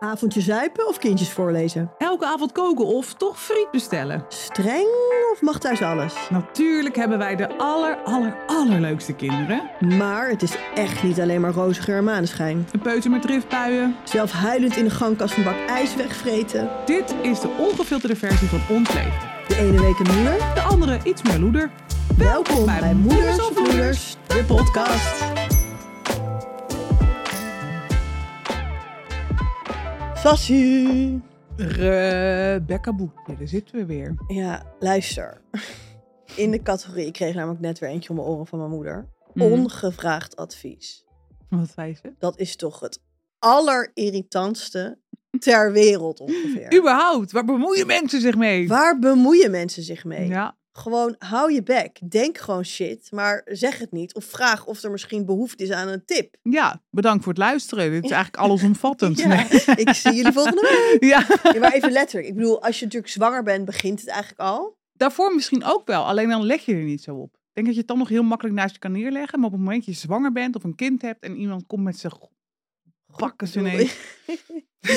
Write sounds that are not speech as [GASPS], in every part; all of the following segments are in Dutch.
Avondje zuipen of kindjes voorlezen? Elke avond koken of toch friet bestellen? Streng of mag thuis alles? Natuurlijk hebben wij de aller, aller, allerleukste kinderen. Maar het is echt niet alleen maar roze geur en maneschijn. Een peuter met driftbuien. Zelf huilend in de gangkast een bak ijs wegvreten. Dit is de ongefilterde versie van ons leven. De ene week een moeder. De andere iets meer loeder. Welkom bij Moeders of Moeders, de podcast. Sassy. Rebecca Boekje, daar zitten we weer. Ja, luister. In de categorie, ik kreeg namelijk net weer eentje om mijn oren van mijn moeder. Mm, Ongevraagd advies. Wat zei ze? Dat is toch het allerirritantste ter wereld ongeveer. Überhaupt, waar bemoeien mensen zich mee? Waar bemoeien mensen zich mee? Ja, Gewoon hou je bek. Denk gewoon shit, maar zeg het niet. Of vraag of er misschien behoefte is aan een tip. ja, bedankt voor het [LAUGHS] luisteren. Dit is eigenlijk allesomvattend. Ja, Nee. [LAUGHS] ik zie jullie volgende week. [LAUGHS] ja. Ja, maar even letterlijk. Ik bedoel, als je natuurlijk zwanger bent, begint het eigenlijk al. Daarvoor misschien ook wel, alleen dan leg je er niet zo op. Ik denk dat je het dan nog heel makkelijk naast je kan neerleggen. Maar op het moment dat je zwanger bent of een kind hebt en iemand komt met zijn go- bakken, zo bedoel- [LAUGHS] [LAUGHS] nee,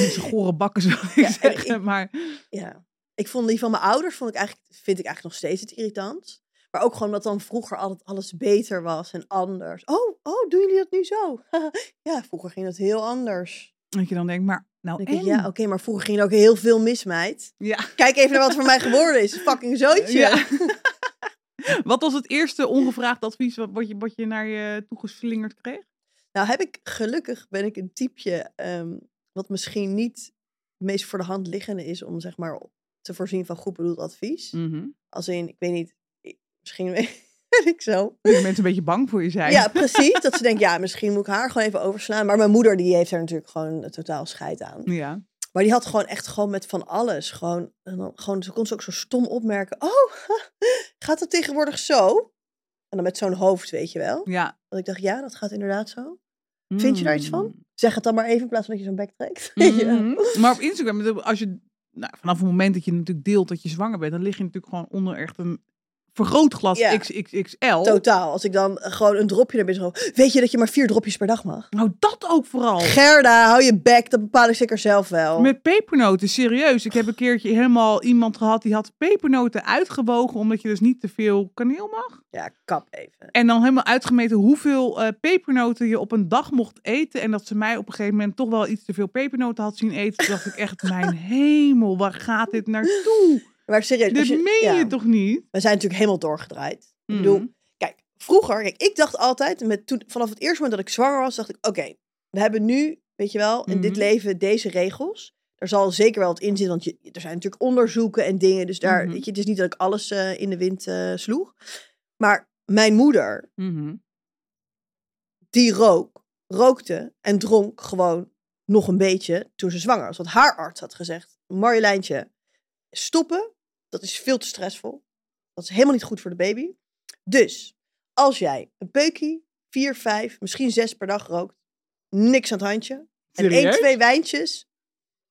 zijn gore bakken zou ik Ja, en [LAUGHS] zeggen. Maar Ja. Ik vond die van mijn ouders vond ik eigenlijk, vind ik eigenlijk nog steeds het irritant. Maar ook gewoon dat dan vroeger altijd alles beter was en anders. Oh, oh, doen jullie dat nu zo? [LAUGHS] ja, vroeger ging dat heel anders. dat je dan denkt, maar nou Dan en? denk ik, ja, oké, maar vroeger ging er ook heel veel mis, meid. Ja. Kijk even naar wat voor mij geworden is. Fucking zootje. [LAUGHS] Ja. [LAUGHS] Wat was het eerste ongevraagd advies wat, wat je, wat je naar je toe geslingerd kreeg? Nou heb ik, gelukkig ben ik een typeje ehm, wat misschien niet het meest voor de hand liggende is om zeg maar te voorzien van goed bedoeld Mm. advies. Als in, ik weet niet, ik- misschien [LAUGHS] ben ik zo. Dat mensen een beetje bang voor je zijn. Ja, precies. Dat ze denkt, ja, misschien moet ik haar gewoon even overslaan. Maar mijn moeder, die heeft er natuurlijk gewoon totaal scheid aan. Ja. Maar die had gewoon echt gewoon met van alles. Gewoon, en dan, gewoon ze kon ze ook zo stom opmerken. Oh, [LAUGHS] gaat dat tegenwoordig zo? En dan met zo'n hoofd, weet je wel. ja. Dat ik dacht, ja, dat gaat inderdaad zo. Vind je daar iets van? Mm. Zeg het dan maar even in plaats van dat je zo'n bek trekt. [LAUGHS] Mhm. Ja. Maar op Instagram, ik bedoel, als je, nou, vanaf het moment dat je natuurlijk deelt dat je zwanger bent, dan lig je natuurlijk gewoon onder echt een vergrootglas Ja. XXXL. Totaal. Als ik dan gewoon een dropje naar binnen gooi. Weet je dat je maar vier dropjes per dag mag? Nou, dat ook vooral. Gerda, hou je bek. Dat bepaal ik zeker zelf wel. Met pepernoten, serieus. Ik heb een keertje helemaal iemand gehad die had pepernoten uitgewogen, omdat je dus niet te veel kaneel mag. Ja, kap even. En dan helemaal uitgemeten hoeveel eh, pepernoten je op een dag mocht eten. En dat ze mij op een gegeven moment toch wel iets te veel pepernoten had zien eten. Toen dacht ik [LAUGHS] echt, mijn hemel, waar gaat dit naartoe? Maar serieus. Dit als je- meen ja. je toch niet? We zijn natuurlijk helemaal doorgedraaid. Ik bedoel, Mm. kijk, vroeger, kijk, ik dacht altijd, met toen, vanaf het eerste moment dat ik zwanger was, dacht ik, oké, we hebben nu, weet je wel, in dit Mhm. leven deze regels. Er zal zeker wel wat in zitten, want je, er zijn natuurlijk onderzoeken en dingen. Dus daar, Mhm. weet je, het is niet dat ik alles eh, in de wind eh, sloeg. Maar mijn moeder, Mhm. die rook, rookte en dronk gewoon nog een beetje toen ze zwanger was. Want haar arts had gezegd, Marjoleintje, stoppen, dat is veel te stressvol. Dat is helemaal niet goed voor de baby. Dus, als jij een peukie, vier, vijf, misschien zes per dag rookt, niks aan het handje. En één, Serieus? twee wijntjes,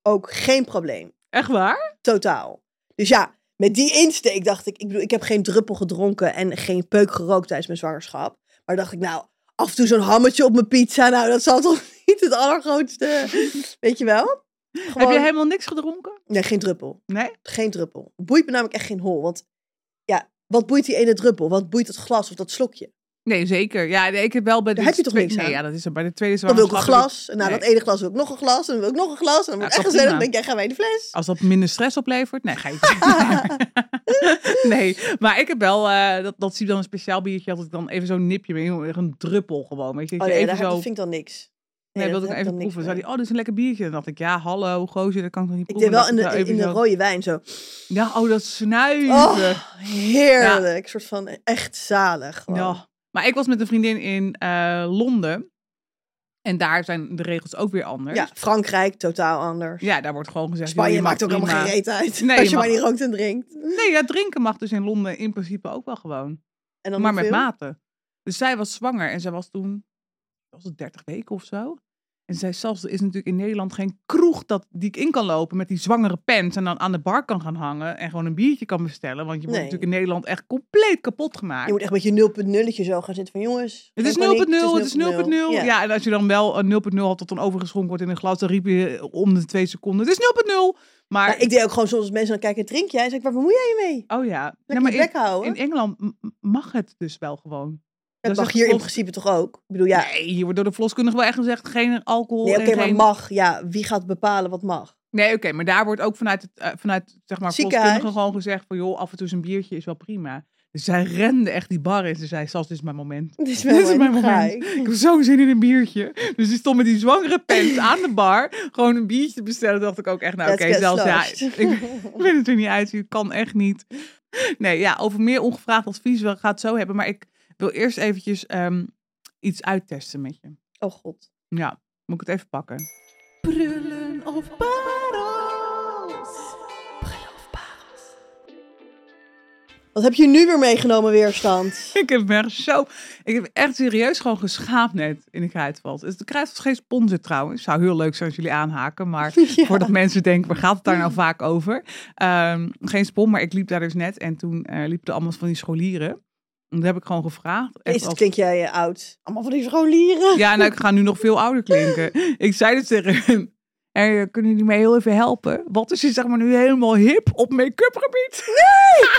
ook geen probleem. Echt waar? Totaal. Dus ja, met die insteek dacht ik, ik bedoel, ik heb geen druppel gedronken en geen peuk gerookt tijdens mijn zwangerschap. Maar dacht ik, nou, af en toe zo'n hammetje op mijn pizza, nou, dat zal toch [LAUGHS] niet het allergrootste, weet je wel? Gewoon, Heb je helemaal niks gedronken? Nee, geen druppel. Nee? Geen druppel. Boeit me namelijk echt geen hol, want ja, wat boeit die ene druppel? Wat boeit het glas of dat slokje? Nee, zeker. Ja, nee, ik heb wel bij de Daar heb je toch twee- niks nee, aan? ja, dat is er bij de tweede Dan wil ik zwangerschap. een glas, en na Nee. dat ene glas wil ik nog een glas, en dan wil ik nog een glas, en dan Ja, wordt het echt toch gezellig. Dan prima. denk jij, gaan wij de fles? Als dat minder stress oplevert? Nee, [LAUGHS] ga je Nee, maar ik heb wel, eh, dat, dat zie je dan een speciaal biertje, had ik dan even zo'n nipje, mee, heel erg een druppel gewoon. Weet je, dat Oh je nee, even daar heb- zo... dat vind ik dan niks. Nee, wilde ik dat hem even heb dan niks proeven. Zei mee. hij, oh, dit is een lekker biertje. Dan dacht ik, ja, hallo, gozer, dat kan ik nog niet Ik deed proeven. wel in Dan de, dacht ik, in nou, de even rode wijn zo. zo- Ja, oh, dat snuiven. Oh, heerlijk. soort van echt zalig. gewoon. Ja. Maar ik was met een vriendin in eh, Londen. En daar zijn de regels ook weer anders. Ja, Frankrijk, totaal anders. Ja, daar wordt gewoon gezegd... joh, Spanje je mag maakt ook helemaal geen prima- reet uit. Nee, als je je maar mag- niet rookt en drinkt. Nee, ja, drinken mag dus in Londen in principe ook wel gewoon. En dan maar met hoeveel? mate. Dus zij was zwanger en zij was toen... Was het 30 weken of zo? En zij zelfs, er is natuurlijk in Nederland geen kroeg dat, die ik in kan lopen met die zwangere pens en dan aan de bar kan gaan hangen en gewoon een biertje kan bestellen. Want je wordt Nee. natuurlijk in Nederland echt compleet kapot gemaakt. Je moet echt met je 0.0'tje zo gaan zitten van jongens. Het is 0.0, geen paniek, het is 0.0. Ja. Ja. en als je dan wel een 0.0 had dat dan overgeschonken wordt in een glas, dan riep je om de twee seconden, het is 0.0. Maar, Maar Nou, ik deed ook gewoon soms als mensen dan kijken, drink jij? Dan zeg ik, waar vermoei jij je mee? oh ja, Ja, Lekker maar je in- bek houden. in Engeland m- m- mag het dus wel gewoon. dat dat mag is hier in volgens- principe toch ook? Ik bedoel, ja. Nee, hier wordt door de verloskundige wel echt gezegd, geen alcohol. Nee, oké, en geen... maar mag. Ja, wie gaat bepalen wat mag? [LAUGHS] Nee, oké, maar daar wordt ook vanuit het, eh, vanuit, zeg maar, Ziekenhuis. verloskundigen gewoon gezegd van, joh, af en toe is een biertje is wel prima. Dus zij rende echt die bar in. Ze zei, Sas, dit is mijn moment. [LAUGHS] Dit is Dit is mijn moment. Ga moment. Ik heb zo'n zin in een biertje. Dus die stond met die zwangere [LAUGHS] pens aan de bar. Gewoon een biertje te bestellen. dacht ik ook echt, nou Let's oké, get zelfs ja. sloshed. [LAUGHS] Ik ben het er niet uit. U kan echt niet. Nee, ja, over meer ongevraagd advies. We gaan het zo hebben. Maar ik wil eerst eventjes ehm, iets uittesten met je. Oh god. Ja, moet ik het even pakken. Prullen of parels? Wat heb je nu weer meegenomen, weerstand? [LAUGHS] Ik heb me echt zo... Ik heb echt serieus gewoon geschaafd net in de kruidvat. Dus De kruidvat is geen sponsor trouwens. Zou heel leuk zijn als jullie aanhaken. Maar [LAUGHS] Ja. Voordat mensen denken, waar gaat het daar nou vaak over? Ehm, geen spon, maar ik liep daar dus net en toen eh liepen er allemaal van die scholieren. En dat heb ik gewoon gevraagd. Echt Is het als- klink jij eh, oud? Allemaal van die [LAUGHS] scholieren. Ja, nou, ik ga nu nog veel ouder klinken. Ik zei dus tegen hem, "Hey, kunnen jullie mij heel even helpen? Wat is je zeg maar nu helemaal hip op make-up gebied?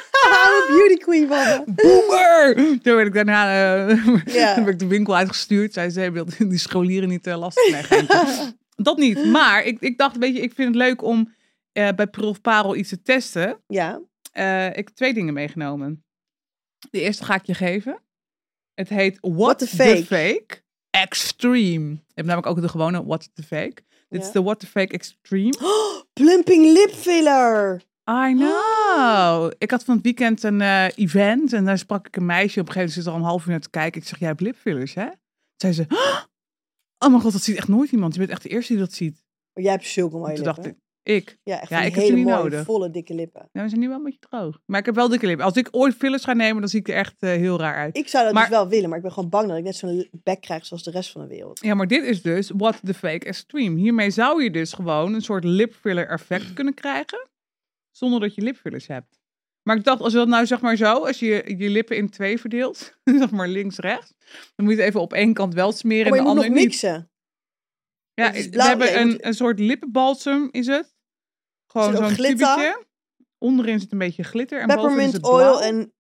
[LAUGHS] Oude beauty queen van me. Boomer! Toen werd ik daarna eh, [LAUGHS] Ja. heb ik de winkel uitgestuurd. Zij zei, wil die scholieren niet eh, lastig [LAUGHS] nee, geintje. Dat niet, maar ik, ik dacht, weet je, ik vind het leuk om eh, bij Prul of Parel iets te testen. [LAUGHS] Ja. Eh, ik heb twee dingen meegenomen. De eerste ga ik je geven. Het heet What, the the, Fake. fake. Extreme. Ik heb namelijk ook de gewone What the Fake. Dit Ja. is de What the Fake Extreme. Oh, plumping lip filler. I know. Ik had van het weekend een eh, event en daar sprak ik een meisje. Op een gegeven moment zit er al een half uur naar te kijken. Ik zeg, jij hebt lipfillers, hè? Zei ze, "Oh, oh mijn god, dat ziet echt nooit iemand. Je bent echt de eerste die dat ziet. Maar Oh, jij hebt zulke mooie Toen lippen. dacht ik, ik. Ja, echt Ja, van die ik heb ze hele niet mooie, nodig. volle, dikke lippen. Nou, we zijn nu wel een beetje droog. Maar ik heb wel dikke lippen. Als ik ooit fillers ga nemen, dan zie ik er echt eh, heel raar uit. Ik zou dat Maar- dus wel willen, maar ik ben gewoon bang dat ik net zo'n bek krijg zoals de rest van de wereld. Ja, maar dit is dus what the fake extreme. Hiermee zou je dus gewoon een soort lipfiller [CLEARS THROAT] effect kunnen krijgen. Zonder dat je lipfillers hebt. Maar ik dacht, als je dat nou zeg maar zo, als je je lippen in twee verdeelt, [LAUGHS] zeg maar links-rechts, dan moet je het even op één kant wel smeren Oh, maar en je de moet nog Dus andere niet. mixen. Ja, Het is we blauw, ja, hebben je een, moet- een soort lippenbalsem, is het? Gewoon Zit ook zo'n glitter? tubetje. Onderin zit een beetje glitter en bovenin is Peppermint het oil blauw. en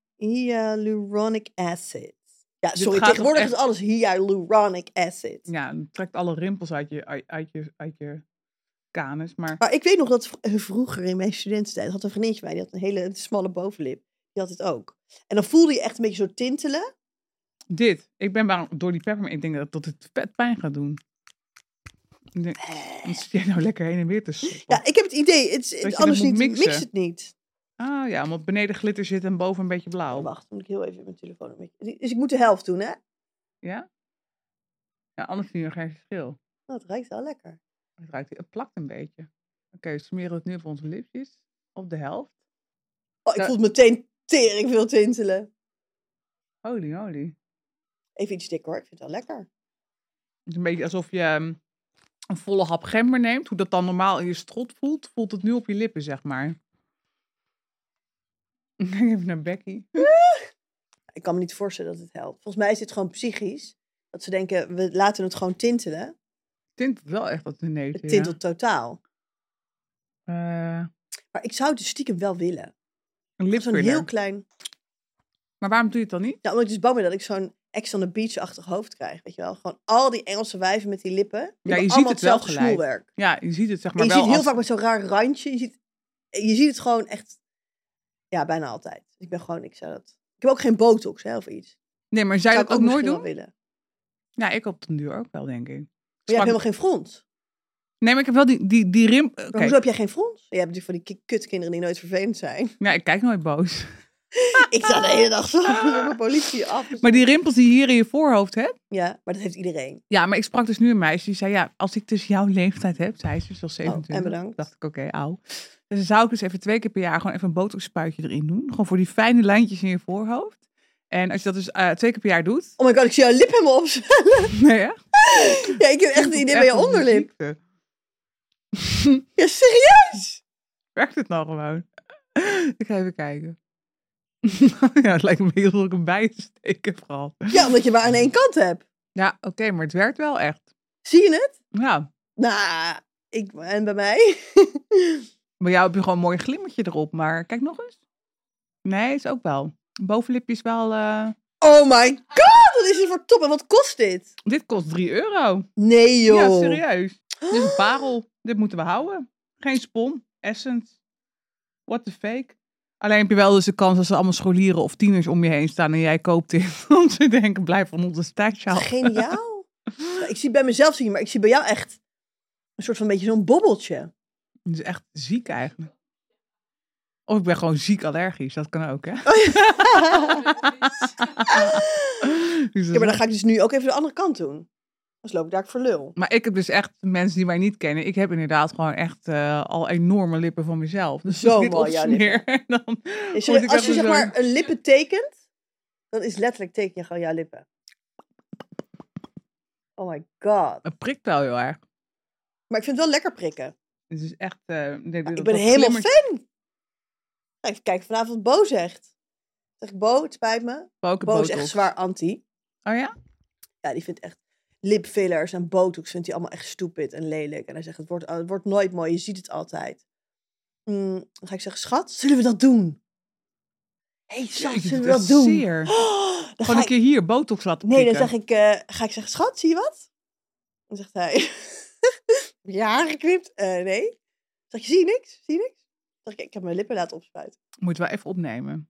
hyaluronic acid. Ja, sorry, gaat tegenwoordig toch is alles hyaluronic acid. Ja, het trekt alle rimpels uit je, uit, uit je, uit je kanus. Maar Maar ik weet nog dat v- eh, vroeger in mijn studententijd had een vriendinnetje van mij, die had een hele smalle bovenlip. Die had het ook. En dan voelde je echt een beetje zo tintelen. Dit. Ik ben bang door die peppermint. Ik denk dat, dat het vet pijn gaat doen. Ik denk, wat zit jij nou lekker heen en weer te soppen? Ja, ik heb het idee, het, is- je dat anders niet, moet mix mixen. het niet. Ah ja, want beneden glitter zit en boven een beetje Oh, blauw. wacht, moet ik heel even mijn telefoon een beetje- Dus ik moet de helft doen, hè? Ja? Ja, anders zie je nog geen verschil. Nou, het ruikt wel lekker. Het, ruikt, het plakt een beetje. Oké, we smeren het nu op onze lipjes. Op de helft. Oh, ik Ja. voel het meteen tering veel tintelen. Holy, holy. Even iets dikker hoor, ik vind het wel lekker. Het is een beetje alsof je ehm, een volle hap gember neemt. Hoe dat dan normaal in je strot voelt, voelt het nu op je lippen, zeg maar. Kijk even naar Becky. Ik kan me niet voorstellen dat het helpt. Volgens mij is dit gewoon psychisch. Dat ze denken, we laten het gewoon tintelen. Tint wel echt wat in deze. Het tintelt totaal. Eh, Maar ik zou het dus stiekem wel willen. een Zo'n lipfiller. heel klein... Maar waarom doe je het dan niet? Nou, omdat ik dus bang ben dat ik zo'n ex on the beach-achtig hoofd krijg. Weet je wel? Gewoon al die Engelse wijven met die lippen. Die hebben je ziet allemaal het wel hetzelfde gelijk. smoelwerk. Ja, je ziet het zeg maar En je wel ziet het heel als- vaak met zo'n raar randje. Je ziet, je ziet het gewoon echt... Ja, bijna altijd. Dus Ik ben gewoon... Ik zou dat... Ik heb ook geen botox hè, of iets. Nee, maar zou je zou dat ook nooit misschien doen? wel willen. Ja, ik op den duur ook wel, denk Maar ik. jij hebt Sprak- helemaal geen frons. Nee, maar ik heb wel die, die, die rim... Oké, Maar hoezo heb jij geen frons? Jij hebt natuurlijk van die ki- kutkinderen die nooit vervelend zijn. [LAUGHS] ja, ik kijk nooit boos. [LAUGHS] Ik sta de hele dag zo door de politie af. Ah. Maar die rimpels die je hier in je voorhoofd hebt... Ja, maar dat heeft iedereen. Ja, maar ik sprak dus nu een meisje die zei... Ja, als ik dus jouw leeftijd heb... Zij is dus al 27. Oh, en bedankt. dacht ik, oké, auw. Dus dan zou ik dus even twee keer per jaar... gewoon even een botox spuitje erin doen. Gewoon voor die fijne lijntjes in je voorhoofd. En als je dat dus eh, twee keer per jaar doet. [LAUGHS] Oh my god, ik zie jouw lip helemaal op. [LAUGHS] Nee, hè? ja, ik heb echt het idee bij je Echt een onderlip. ziekte. Ja, serieus? Werkt het nou gewoon? [LAUGHS] Ik ga even kijken. [LAUGHS] ja, het lijkt me heel dat ik hem bij te steken vooral. Ja, omdat je maar aan één kant hebt. Ja, oké, maar het werkt wel echt. Zie je het? Ja, Nou, ik, en bij mij? [LAUGHS] bij jou heb je gewoon een mooi glimmetje erop, maar kijk nog eens. Nee, is ook wel. Bovenlipje is wel... eh, oh my god, wat is dit voor top? En wat kost dit? Dit kost 3 euro. Nee joh. Ja, [GASPS] serieus. Dit is een parel. Dit moeten we houden. Geen spon. Essence. What the fake. Alleen heb je wel dus de kans als er allemaal scholieren of tieners om je heen staan en jij koopt dit. [LAUGHS] Want ze denken, blijf van onze staartje af. [LAUGHS] Geniaal. Nou, ik zie bij mezelf zien, maar ik zie bij jou echt een soort van beetje zo'n bobbeltje. [LAUGHS] Het is echt ziek eigenlijk. Of ik ben gewoon ziek allergisch. Dat kan [LAUGHS] ook, hè? Dus dat Ja, maar is- dan ga ik dus nu ook even de andere kant doen. Anders loop ik daar voor lul. Maar ik heb dus echt, mensen die mij niet kennen, ik heb inderdaad gewoon echt eh, al enorme lippen van mezelf. Dus Zo als ik dit mooi, ja, [LAUGHS] opsmeer, dan Is Goed, er- ik als je heb hem zeg zo. maar een lippen tekent, dan is letterlijk teken je gewoon jouw lippen. Oh my god. het prikt wel heel erg. Maar ik vind het wel lekker prikken. Het is echt... eh, ik denk dat Ah, ik dat ben helemaal glimmertje- fan. Nou, even kijken vanavond wat Bo zegt. Zeg ik, Bo, het spijt me. Maar ook een Bo is botox. echt zwaar anti. Oh ja? Ja, die vindt echt lipfillers en botox vindt hij allemaal echt stupid en lelijk. En hij zegt, het wordt, eh, het wordt nooit mooi, je ziet het altijd. Mm, dan ga ik zeggen, schat, zullen we dat doen? Hé, hey, schat, Jeetje, zullen we dat dat doen? zeer. Oh, dan Gewoon ga een ik, keer hier botox laten nee, dan prikken. zeg ik, eh, ga ik zeggen, schat, zie je wat? Dan zegt hij, [LAUGHS] ja, geknipt. Eh, nee. Dan zeg je, zie je niks? Zie je niks? Dan zeg ik, ik heb mijn lippen laten opspuiten. Moet wel even opnemen.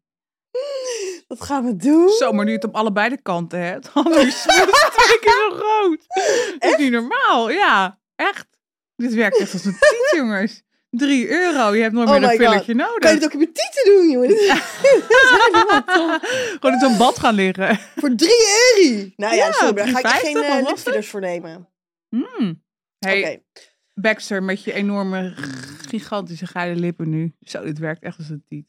Wat gaan we doen? Zo, maar nu het op allebei de kanten [LAUGHS] hebt. Anders is het twee keer zo rood. Dat is niet normaal. Ja, echt. Dit werkt echt als een [LAUGHS] tiet, jongens. 3 euro. Je hebt nooit Oh meer een my God. pilletje nodig. Kan je het ook in mijn tieten doen, jongen? Dit is- [LAUGHS] Gewoon in zo'n bad gaan liggen. [LAUGHS] Voor 3 euro. Nou ja, Ja, sorry, maar daar ga ik 3,50 geen wel uh, lastig. lipfillers voor nemen. Mm. Oké. Hey, Baxter, met je enorme, gigantische geile lippen nu. Zo, dit werkt echt als een tiet.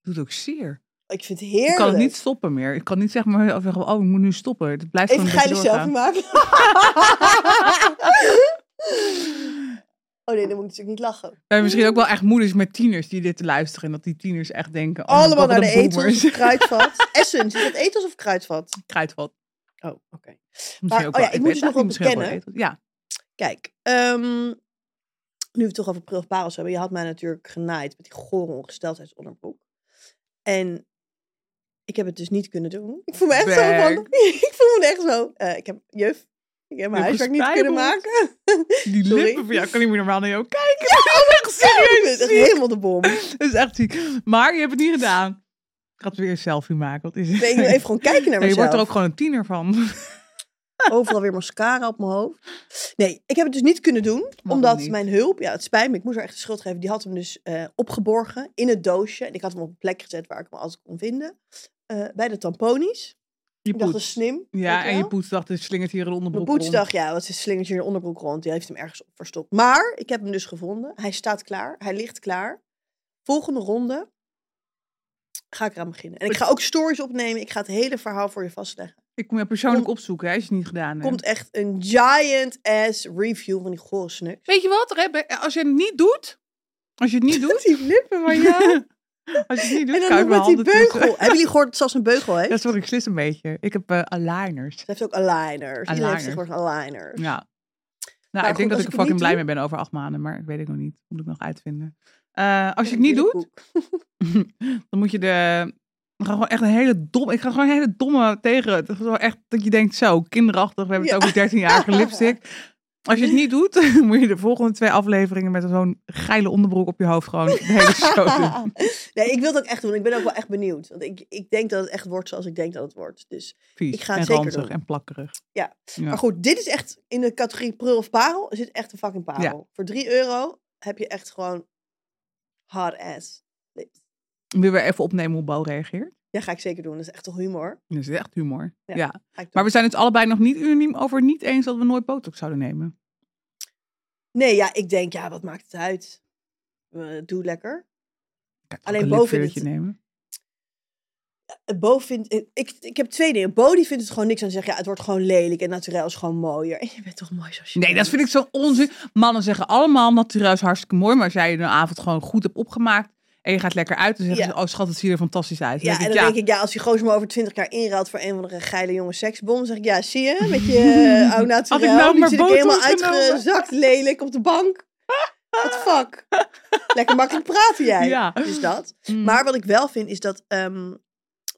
Doet ook zeer. Ik vind het Ik heerlijk. kan het niet stoppen meer. Ik kan niet zeg maar zeggen, oh, ik moet nu stoppen. Het blijft Even dus gewoon een geile beetje doorgaan. selfie [LAUGHS] maken. oh nee, dan moet ik natuurlijk niet lachen. Er zijn misschien ook wel echt moeders met tieners die dit luisteren. En dat die tieners echt denken... Oh, Allemaal naar wat de een etels [LAUGHS] boomers. of kruidvat. Essence, is dat etels of kruidvat? Kruidvat. Oh, oké. Misschien Maar- ook oh ja, wel- ik moet weet dus nog eigenlijk wel misschien ook bekennen. etels. Ja. Kijk, ehm, nu we het toch over prulparels hebben. Je had mij natuurlijk genaaid met die gore ongesteldheidsonderbroek. En ik heb het dus niet kunnen doen. Ik voel me echt zo van... [LAUGHS] Werk. ik voel me echt zo... eh, ik heb... Juf, ik heb mijn Je hebt huiswerk niet kunnen gespijbeld. maken. Die Sorry. lippen van jou kan niet meer normaal naar jou kijken. [LAUGHS] dat is echt Ik serieus ben echt ziek. helemaal de bom. Dat is echt ziek. Maar je hebt het niet gedaan. Ik ga het weer een selfie maken. Wat is het? Nee, ik wil even gewoon kijken naar [LAUGHS] Nee, je mezelf. wordt er ook gewoon een tiener van. [LAUGHS] Overal weer mascara op mijn hoofd. Nee, ik heb het dus niet kunnen doen. omdat niet. mijn hulp, ja, het spijt me, ik moest haar echt de schuld geven. Die had hem dus eh, opgeborgen in het doosje. En ik had hem op een plek gezet waar ik hem altijd kon vinden. Eh, bij de tamponies. Je Ik dacht, dat poets. is slim. weet Ja, en wel. je poetsdag dus slingert hier een Mijn onderbroek poetsdag, ja, wat is slingertje in de onderbroek rond. Die heeft hem ergens op verstopt. Maar ik heb hem dus gevonden. Hij staat klaar. Hij ligt klaar. Volgende ronde ga ik eraan beginnen. En ik ga ook stories opnemen. Ik ga het hele verhaal voor je vastleggen. om. Ik kom je persoonlijk Komt- opzoeken, hè, als je het niet gedaan hebt. komt echt een giant ass review van die gore snacks. Weet je wat? Rebe? Als je het niet doet... Als je het niet [LAUGHS] doet... Die lippen van [LAUGHS] als je het niet doet, En dan kan ik nog met mijn die handen beugel. [LAUGHS] [LAUGHS] tussen. Hebben jullie gehoord dat zelfs een beugel heeft? Ja, sorry, ik slis een beetje. Ik heb eh, aligners. Ze heeft ook aligners. Iedereen heeft Aligners. tegenwoordig aligners. Ja. Maar Nou, ik goed, denk als ik dat ik er het niet fucking blij doe- mee ben over acht maanden, maar ik weet het nog niet. Moet ik nog uitvinden. Eh, als je het niet doet, Koek. dan moet je de. Ik ga gewoon echt een hele domme. Ik ga gewoon een hele domme tegen. Het is wel echt dat je denkt zo kinderachtig. We hebben Ja. het [LAUGHS] over 13-jarige lipstick. Als je het niet doet, [LAUGHS] moet je de volgende twee afleveringen met zo'n geile onderbroek op je hoofd gewoon de hele show [LAUGHS] doen. nee, ik wil het ook echt doen. Ik ben ook wel echt benieuwd. Want ik, ik denk dat het echt wordt zoals ik denk dat het wordt. Dus, Vies Ik ga het en zeker ranzig doen. en plakkerig. Ja. Ja. Maar goed, dit is echt in de categorie prul of parel. Is dit echt een fucking parel. Voor 3 euro heb je echt gewoon hard ass lips. Wil je weer even opnemen hoe Bo reageert? Ja, ga ik zeker doen. Dat is echt toch humor. Dat is echt humor. Ja. ja. Ga ik doen. Maar we zijn het allebei nog niet unaniem over niet eens dat we nooit botox zouden nemen. Nee, ja, ik denk, ja, wat maakt het uit? Eh, doe lekker. Kijk, Alleen een boven lipveertje dit- nemen. eh, Bo vindt... eh, Ik, ik heb twee dingen. Bo die vindt het gewoon niks aan zeggen. Ja, het wordt gewoon lelijk en naturel is gewoon mooier. [LAUGHS] En je bent toch mooi zoals je Nee, dat bent. vind ik zo'n onzin. Mannen zeggen allemaal, natuurlijk is hartstikke mooi, maar als jij een avond gewoon goed hebt opgemaakt en je gaat lekker uit, dan zeggen Ja. ze, oh schat, het ziet er fantastisch uit. Ja, en denk dan ik, denk ik, ja, als die gozer me over twintig jaar inraadt voor een van de geile jonge seksbom, dan zeg ik, ja, zie je, met [LAUGHS] je eh, oud Had ik nou naturel, nu maar zit ik helemaal botox genomen. uitgezakt, lelijk op de bank. What the [LAUGHS] fuck? Lekker makkelijk praten jij. Ja. Dus dat. Mm. Maar wat ik wel vind, is dat, ehm,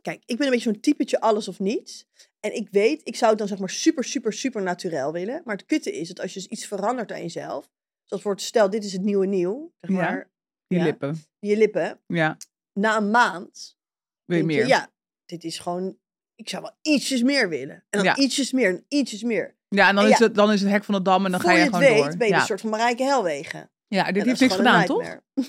kijk, ik ben een beetje zo'n typetje alles of niets. En ik weet, ik zou het dan zeg maar super, super, super naturel willen. Maar het kutte is dat als je dus iets verandert aan jezelf, zoals wordt, stel, dit is het nieuwe nieuw, zeg Ja. maar, die ja. lippen. je lippen, Ja, na een maand wil je denk meer? je, ja, dit is gewoon. Ik zou wel ietsjes meer willen. En dan Ja. ietsjes meer en ietsjes meer. Ja, en dan, En Is Oh, ja. het, dan is het hek van de dam en dan Voor ga je je, het gewoon weet, door. ben je ja. een soort van Marijke Helwegen. ja, dit En heeft dat niks is gedaan, gewoon toch? een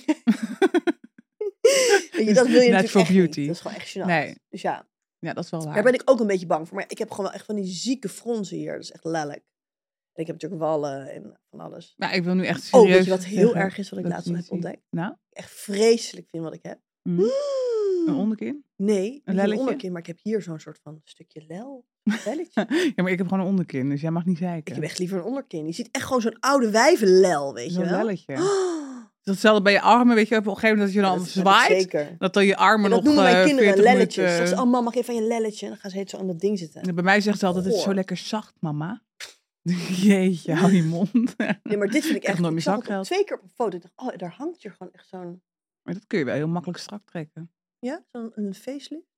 [LAUGHS] nightmare. Weet je, dat wil je natuurlijk Natural echt niet. beauty. Dat is gewoon echt gênant. Nee. Dus ja, Ja, dat is wel waar. daar ben ik ook een beetje bang voor. Maar ik heb gewoon wel echt van die zieke fronsen hier. Dat is echt lelijk. En ik heb natuurlijk wallen en van alles. Maar ik wil nu echt serieus Oh, weet je wat heel zeggen erg is wat ik dat laatst niet heb zie. ontdekt? Nou, Echt vreselijk vind wat ik heb. Mm. een onderkin? Nee, niet een lelletje? onderkin, maar ik heb hier zo'n soort van stukje lel. [LAUGHS] Een Lelletje. Ja, maar ik heb gewoon een onderkin, dus jij mag niet Ik zeiken. heb echt liever een onderkin. Je ziet echt gewoon zo'n oude wijvenlel, weet je Zo'n wel. lelletje. Dat Oh, is Hetzelfde bij je armen, weet je, op een gegeven moment dat ja, je dan dat heb ik zwaait, Zeker. En dat dan je armen dat nog noemen mijn eh, kinderen 40 lelletjes. minuten- Dat ze, oh, mam, mag even aan je lelletje. En dan gaan ze heet zo aan dat ding zitten. En bij mij zegt ze altijd, het is zo Goor. lekker zacht, mama. [LAUGHS] Jeetje, hou je mond. [LAUGHS] Nee, maar dit vind ik heb echt... nooit Ik mijn zag het op- zakgeld. twee keer op een foto. Ik dacht, oh, daar hangt hier gewoon echt zo'n... Maar dat kun je wel heel makkelijk strak trekken. Ja, zo'n een facelift.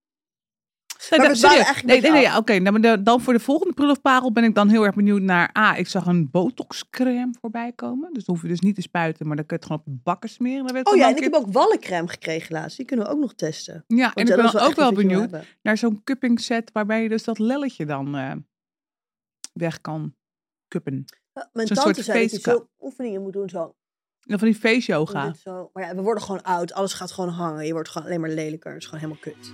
Nee, we dwalen dat- serieus. eigenlijk nee, een nee, beetje nee, ja, oké. nou, maar de- dan voor de volgende prullenparel ben ik dan heel erg benieuwd naar... A, ik zag een botoxcrème voorbij komen. Dus dan hoef je dus niet te spuiten, maar dan kun je het gewoon op je bakken smeren. Dan weet Oh ik ja, dan en ik een heb ook wallencrème gekregen laatst. Die kunnen we ook nog testen. Want keer- Ja, en ik jij, ben dat is dan ook echt iets wel wat je wil benieuwd hebben. naar zo'n cupping set... waarbij je dus dat lelletje dan eh, weg kan cuppen. Ja, Mijn Zo'n tante soort zei dat je facecup. zo oefeningen moet doen zo. En van die face Om yoga. Oh, dit zo. Maar ja, we worden gewoon oud. Alles gaat gewoon hangen. Je wordt gewoon alleen maar lelijker. Het is gewoon helemaal kut.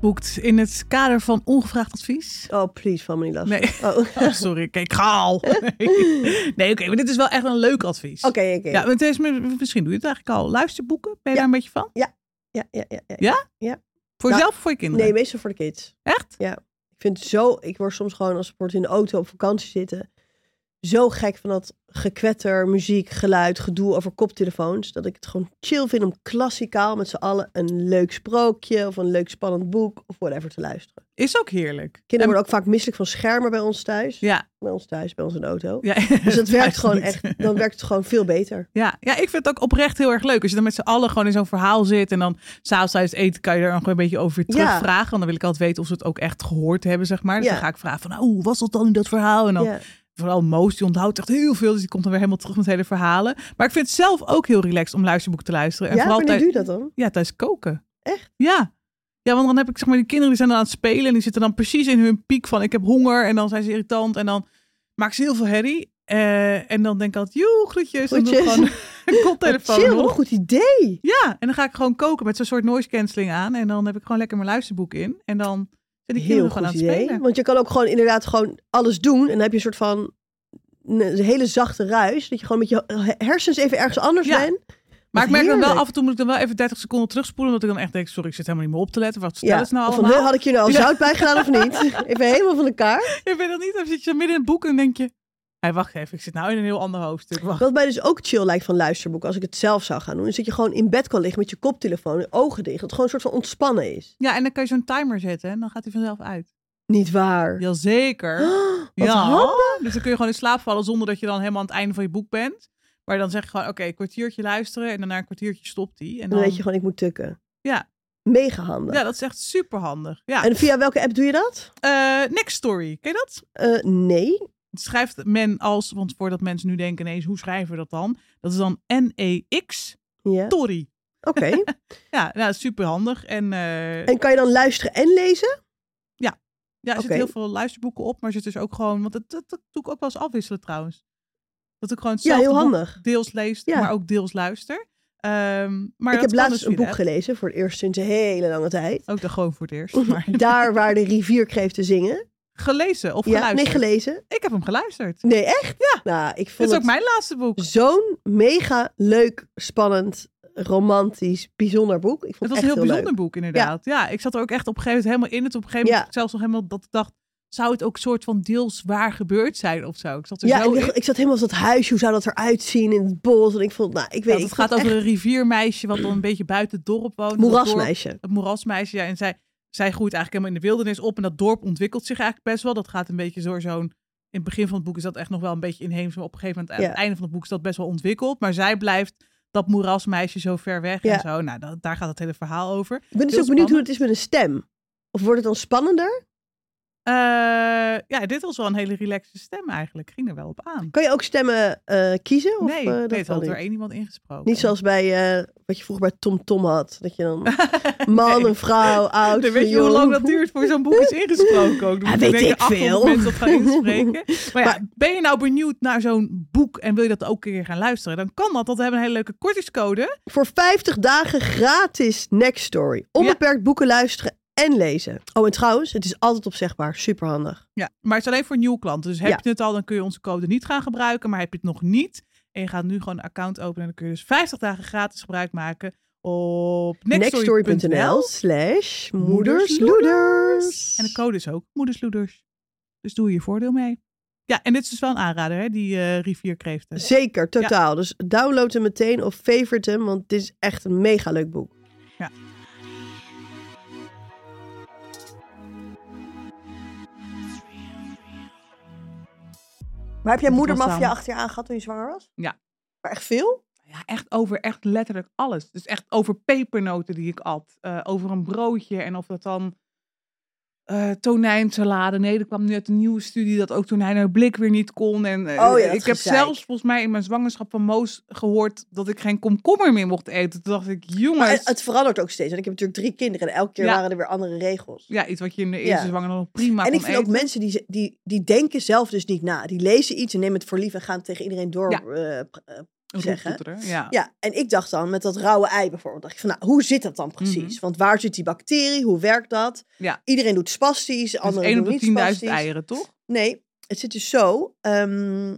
Boekt in het kader van ongevraagd advies. Oh, please, van me niet last. [LAUGHS] Nee. Oh. Oké, Oh, sorry, ik kijk [LAUGHS] gaal. Nee, oké, maar dit is wel echt een leuk advies. oké. Ja, maar het is, misschien doe je het eigenlijk al. Luisterboeken, ben je daar een beetje van? Ja, ja, ja. ja. Voor Nou, jezelf of voor je kinderen? Nee, meestal voor de kids. Echt? Ik vind het zo, ik word soms gewoon als we bijvoorbeeld in de auto op vakantie zitten, zo gek van dat gekwetter, muziek, geluid, gedoe over koptelefoons, dat ik het gewoon chill vind om klassikaal met z'n allen een leuk sprookje of een leuk spannend boek of whatever te luisteren. Is ook heerlijk. Kinderen En- worden ook vaak misselijk van schermen bij ons thuis. Ja. Bij ons thuis, bij ons in de auto. ja Dus dat werkt [LAUGHS] thuis gewoon niet. echt, dan werkt het gewoon veel beter. Ja. ja, ik vind het ook oprecht heel erg leuk. Als je dan met z'n allen gewoon in zo'n verhaal zit. En dan s'avonds tijdens het eten kan je er dan gewoon een beetje over Ja. terugvragen. Want dan wil ik altijd weten of ze het ook echt gehoord hebben, zeg maar. Dus Ja. dan ga ik vragen van, oh, hoe was dat dan in dat verhaal? Nou, En dan Ja. vooral Moos, die onthoudt echt heel veel. Dus die komt dan weer helemaal terug met hele verhalen. Maar ik vind het zelf ook heel relaxed om luisterboeken te luisteren. En Ja, vooral wanneer tij- doe je dat dan? Ja, tijdens koken. Echt? Ja. Ja, want dan heb ik zeg maar, die kinderen die zijn dan aan het spelen en die zitten dan precies in hun piek van ik heb honger en dan zijn ze irritant en dan maken ze heel veel herrie. Eh, en dan denk ik altijd, joe, groetjes. Dan doe ik Groetjes. gewoon [LAUGHS] een koptelefoon Chill, wat een op. goed idee. Ja, en dan ga ik gewoon koken met zo'n soort noise cancelling aan en dan heb ik gewoon lekker mijn luisterboek in. En dan zijn die kinderen Heel gewoon goed aan het idee. spelen. Want je kan ook gewoon inderdaad gewoon alles doen. En dan heb je een soort van een hele zachte ruis. Dat je gewoon met je hersens even ergens anders Ja. bent. Maar ik merk dan heerlijk. wel, af en toe moet ik dan wel even 30 seconden terugspoelen. Omdat ik dan echt denk, sorry, ik zit helemaal niet meer op te letten. Wat stellen ze nou of van, allemaal? "Huh, had ik je nou al [LAUGHS] Ja. zout bij gedaan of [LAUGHS] niet? Even helemaal van elkaar. Ik weet dat niet. Dan zit [LAUGHS] je midden in het boek en denk je... Hé, wacht even, ik zit nou in een heel ander hoofdstuk. Wacht. Wat mij dus ook chill lijkt van luisterboeken, als ik het zelf zou gaan doen, is dat je gewoon in bed kan liggen met je koptelefoon, je ogen dicht. Dat het gewoon een soort van ontspannen is. Ja, en dan kan je zo'n timer zetten en dan gaat hij vanzelf uit. Niet waar. Jazeker. Oh, [GASPS] wat ja. handig. Dus dan kun je gewoon in slaap vallen zonder dat je dan helemaal aan het einde van je boek bent. Maar dan zeg je gewoon, oké, een kwartiertje luisteren en dan na een kwartiertje stopt hij. En Dan dan, weet je gewoon, ik moet tukken. Ja. Mega handig. Ja, dat is echt super handig. Ja. En via welke app doe je dat? Eh, next story, ken je dat? Eh, nee. Het schrijft men als, want voordat mensen nu denken ineens, hoe schrijven we dat dan? Dat is dan N-E-X, Ja. story. Oké. [LAUGHS] Ja, nou, super handig. En eh, En kan je dan luisteren en lezen? Ja, er Oké. zitten heel veel luisterboeken op, maar er zit dus ook gewoon... Want dat, dat, dat doe ik ook wel eens afwisselen trouwens. Dat ik gewoon Ja, hetzelfde heel boek handig. deels lees, Ja. maar ook deels luister. Ehm, maar ik heb dat kan laatst dus een via boek de app. gelezen voor het eerst sinds een hele lange tijd. [LAUGHS] Ook dan gewoon voor het eerst. Maar Daar waar de rivier kreeg te zingen. Gelezen of Ja, geluisterd? nee, gelezen. Ik heb hem geluisterd. Nee, echt? Ja. Nou, ik Dit vond is ook het Dus mijn laatste boek. zo'n mega leuk, spannend, romantisch, bijzonder boek. Ik Het vond het was een echt heel heel bijzonder leuk. boek, inderdaad. Ja. ik zat er ook echt op een gegeven moment helemaal in. Het op een gegeven moment zelfs nog helemaal dat ik dacht... zou het ook soort van deels waar gebeurd zijn of zo? Ik zat er Ja, zo en in. ik, ik zat helemaal als dat huisje, hoe zou dat eruit zien in het bos? En ik vond, nou, ik weet Want ik het gaat vond over echt een riviermeisje... wat dan een beetje buiten het dorp woont. Dat dorp- moerasmeisje. Het moerasmeisje, ja. En zij, zij groeit eigenlijk helemaal in de wildernis op. En dat dorp ontwikkelt zich eigenlijk best wel. Dat gaat een beetje door zo'n... In het begin van het boek is dat echt nog wel een beetje inheems. Maar op een gegeven moment, aan Ja. het einde van het boek, is dat best wel ontwikkeld. Maar zij blijft dat moerasmeisje zo ver weg Ja. en zo. Nou, da- daar gaat het hele verhaal over. Ik ben dus Heel ook benieuwd hoe spannend. het is met een stem. Of wordt het dan spannender? Eh, ja, dit was wel een hele relaxte stem eigenlijk. Ging er wel op aan. Kan je ook stemmen eh, kiezen? Of, nee, eh, nee, dat het kan had er niet? één iemand ingesproken. Niet zoals bij eh, wat je vroeger bij Tom Tom had. Dat je [LAUGHS] dan Nee. man, een vrouw, oud, [LAUGHS] Dan weet je jong. hoe lang dat duurt voor zo'n boek is ingesproken. Ook. Dan [LAUGHS] Ja, moeten weet denk ik 800 veel. mensen dat gaan [LAUGHS] inspreken. Maar ja, Maar- ben je nou benieuwd naar zo'n boek en wil je dat ook een keer gaan luisteren? Dan kan dat, want we hebben een hele leuke kortingscode. Voor 50 dagen gratis Next Story. Onbeperkt boeken luisteren en lezen. Oh, en trouwens, het is altijd opzegbaar. Superhandig. Ja, maar het is alleen voor nieuwe klanten. Dus heb Ja. je het al, dan kun je onze code niet gaan gebruiken. Maar heb je het nog niet en je gaat nu gewoon een account openen... dan kun je dus 50 dagen gratis gebruik maken op Nextstory.nl nextstory.nl. slash moedersloeders. moedersloeders. En de code is ook moedersloeders. Dus doe je voordeel mee. Ja, en dit is dus wel een aanrader, hè, die eh rivierkreeften. Zeker, totaal. Dus download hem meteen of favorite hem, want dit is echt een mega leuk boek. Maar heb jij Moet moedermafia moedermafia ontstaan. achter je aan gehad toen je zwanger was? Ja. Maar echt veel? Ja, echt over echt letterlijk alles. Dus echt over pepernoten die ik at. eh, over een broodje en of dat dan eh tonijnsalade. Nee, er kwam nu uit een nieuwe studie dat ook tonijn uit blik weer niet kon. En eh, Oh ja, dat ik heb gezeik. zelfs volgens mij in mijn zwangerschap van Moos gehoord dat ik geen komkommer meer mocht eten. Toen dacht ik, jongens. Maar het, het verandert ook steeds. En ik heb natuurlijk drie kinderen en elke keer Ja. waren er weer andere regels. Ja, iets wat je in de eerste Ja. zwanger nog prima en ik kon vind ook eten. mensen die, ze- die, die denken zelf dus niet na. Die lezen iets en nemen het voor lief en gaan tegen iedereen door. Ja. eh, pr- eh, Een zeggen. roeptoeter, Ja. Dus ja, en ik dacht dan met dat rauwe ei bijvoorbeeld. Dacht ik van, nou, hoe zit dat dan precies? Mhm. Want waar zit die bacterie? Hoe werkt dat? Ja. Iedereen doet spastisch, Dus anderen 1 op doen niet de 10.000 spastisch. eieren, toch? Nee, het zit dus zo. ehm,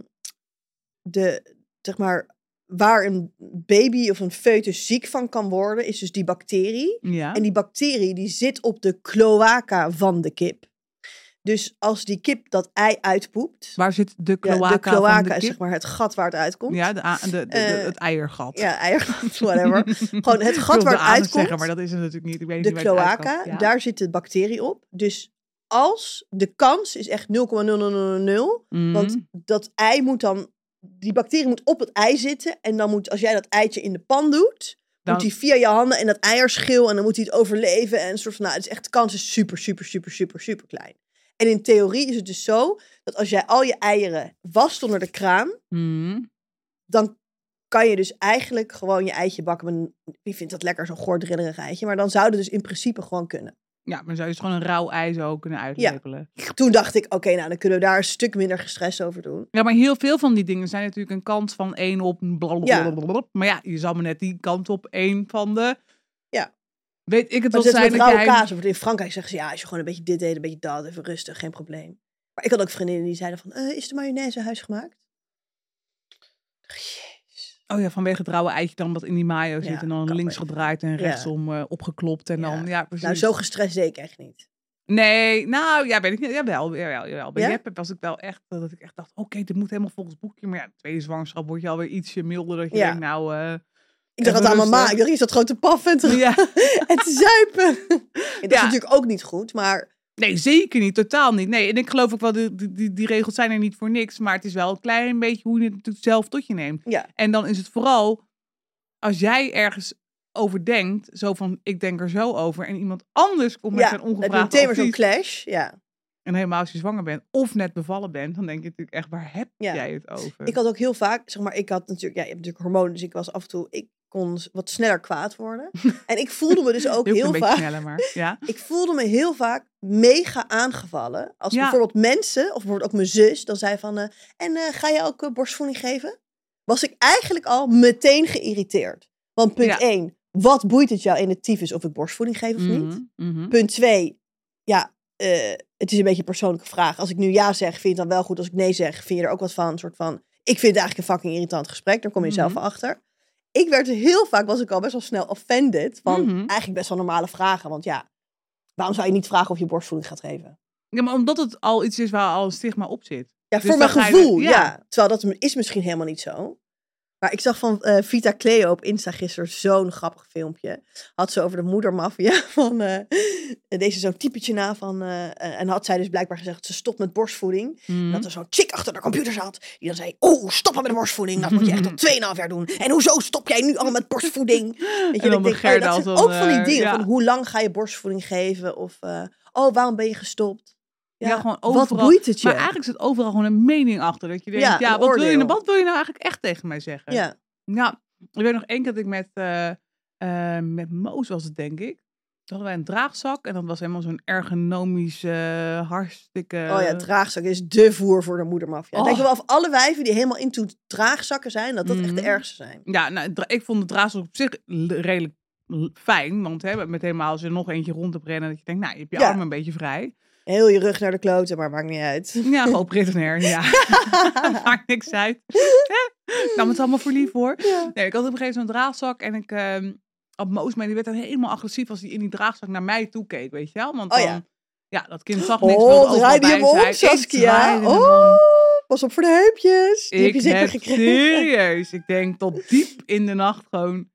de, zeg maar, waar een baby of een foetus ziek van kan worden, is dus die bacterie. Ja. En die bacterie die zit op de cloaca van de kip. Dus als die kip dat ei uitpoept, Waar zit de ja, cloaca, de cloaca van de is kip? zeg maar het gat waar het uitkomt. Ja, de, a- de, de- de- Eh, het eiergat. Ja, eiergat, [LAUGHS] whatever. [LAUGHS] Gewoon het Ik gat wilde waar het anus uitkomt. Zeggen, maar dat is het natuurlijk niet. Ik weet de niet waar het uitkomt. cloaca, Ja. daar zit de bacterie op. Dus als, de kans is echt 0,0000. Mm. Want dat ei moet dan, die bacterie moet op het ei zitten. En dan moet, als jij dat eitje in de pan doet, Dan- moet hij via je handen en dat eierschil. En dan moet hij het overleven. En een soort van, nou, het is echt, de kans is super, super, super, super, super klein. En in theorie is het dus zo dat als jij al je eieren wast onder de kraan, Mm. dan kan je dus eigenlijk gewoon je eitje bakken. Met een, wie vindt dat lekker, zo'n goordrillerig eitje? Maar dan zou dat dus in principe gewoon kunnen. Ja, maar dan zou je dus gewoon een rauw ei zo kunnen uitlepelen. Ja. Toen dacht ik, oké, nou, dan kunnen we daar een stuk minder gestrest over doen. maar heel veel van die dingen zijn natuurlijk een kant van één op blablabla. Maar ja, je zal maar net die kant op één van de... Ja. Weet ik het Maar wel het is zijn met dat rauwe jij... kaas. wordt In Frankrijk zeggen ze, ja, als je gewoon een beetje dit deed, een beetje dat, even rustig, geen probleem. Maar ik had ook vriendinnen die zeiden van, eh, is de mayonaise huisgemaakt? Ik dacht, Jezus. Oh ja, vanwege het rauwe eitje dan wat in die mayo zit. Ja, en dan kan links wel. gedraaid en Ja. rechtsom eh, opgeklopt. En Ja. dan, ja, precies. Nou, zo gestrest deed ik echt niet. Nee, nou ja, weet ik niet. Jawel, jawel, jawel. Bij Ja? Jeppe was ik wel echt, eh, dat ik echt dacht, oké, dit moet helemaal volgens boekje. Maar ja, de tweede zwangerschap word je alweer ietsje milder. Dat je Ja. denkt, nou... eh, [LAUGHS] Ik dacht Even dat aan mijn ma. rustig. Ik dacht, je zat gewoon te paffen en te, Ja. [LAUGHS] en te zuipen. [LAUGHS] En dat Ja. is natuurlijk ook niet goed, maar Nee, zeker niet. Totaal niet. Nee, en ik geloof ook wel, die, die- die, die regels zijn er niet voor niks. Maar het is wel een klein beetje hoe je het natuurlijk zelf tot je neemt. Ja. En dan is het vooral, als jij ergens over denkt, zo van, ik denk er zo over. En iemand anders komt met ja, zijn dan heb je ongevraagd meteen maar zo'n advies. clash. Ja. En helemaal als je zwanger bent of net bevallen bent, dan denk je natuurlijk echt, waar heb Ja. jij het over? Ik had ook heel vaak, zeg maar, ik had natuurlijk, ja, je hebt natuurlijk hormonen, dus ik was af en toe, ik kon s- wat sneller kwaad [LAUGHS] worden. En ik voelde me dus ook Heel heel een beetje vaak, sneller, maar [LAUGHS] ja. ik voelde me heel vaak mega aangevallen. Als Ja. bijvoorbeeld mensen, of bijvoorbeeld ook mijn zus, dan zei van, eh, en eh, ga jij ook eh, borstvoeding geven? Was ik eigenlijk al meteen geïrriteerd. Want punt Ja. 1, wat boeit het jou in het tyfus of ik borstvoeding geef of niet? Mhm, mhm. Punt 2, ja, eh, het is een beetje een persoonlijke vraag. Als ik nu ja zeg, vind je het dan wel goed. Als ik nee zeg, vind je er ook wat van. Een soort van, ik vind het eigenlijk een fucking irritant gesprek. Daar kom je zelf Mhm. wel achter. Ik werd heel vaak, was ik al best wel snel offended. Van Mhm. eigenlijk best wel normale vragen. Want ja, waarom zou je niet vragen of je borstvoeding gaat geven? Ja, maar omdat het al iets is waar al een stigma op zit. Ja, Dus voor mijn dan ga je er- gevoel. ja. ja. terwijl dat is misschien helemaal niet zo. Maar ik zag van eh, Vita Cleo op Insta gisteren zo'n grappig filmpje. Had ze over de moedermafia [LAUGHS] van eh, deze zo'n typetje na van... eh, en had zij dus blijkbaar gezegd, ze stopt met borstvoeding. Mhm. Dat er zo'n chick achter de computer zat. Die dan zei: Oh, stoppen met de borstvoeding. Dat moet je echt [LAUGHS] al 2,5 jaar doen. En hoezo stop jij nu al met borstvoeding? Weet je, En en dan ik denk, oh, Gerda dat als zijn dan, ook van die eh, dingen. ja. Van hoe lang ga je borstvoeding geven? Of eh, oh, waarom ben je gestopt? Ja, gewoon Wat overal. boeit het je? Maar eigenlijk zit overal gewoon een mening achter. Dat je denkt, Ja, ja, een wat, wil je, oordeel. nou- wat wil je nou eigenlijk echt tegen mij zeggen? ja. Nou, ik weet nog één keer dat ik met, eh eh, met Moos was het, denk ik. Toen hadden wij een draagzak en dat was helemaal zo'n ergonomisch, eh, hartstikke... Oh ja, draagzak is de voer voor de moedermafia. Oh. Denk wel of alle wijven die helemaal into draagzakken zijn, dat dat echt de Mhm. ergste zijn. Ja, nou, dra- ik vond de draagzak op zich l- redelijk l- fijn. Want hè, met helemaal als je er nog eentje rond hebt rennen, dat je denkt, nou, je hebt je Ja. arm een beetje vrij. Heel je rug naar de kloten, maar maakt niet [LAUGHS] uit. Ja, gewoon [LAUGHS] prisoner, ja. [LAUGHS] Maakt niks uit. Ik nam het allemaal voor lief hoor. Ja. Nee, ik had op een gegeven moment zo'n draagzak en ik ehm had Moos mee. Die werd dan helemaal agressief als hij in die draagzak naar mij toe keek, weet je wel? Want Oh dan, ja. ja. dat kind zag niks. wilde Oh, overal draai die bij hem om, zijn. Ik Saskia. draaide hem Oh, om. pas op voor de heupjes. Die heb Ik je zeker heb gekregen. serieus, ik denk tot diep in de nacht gewoon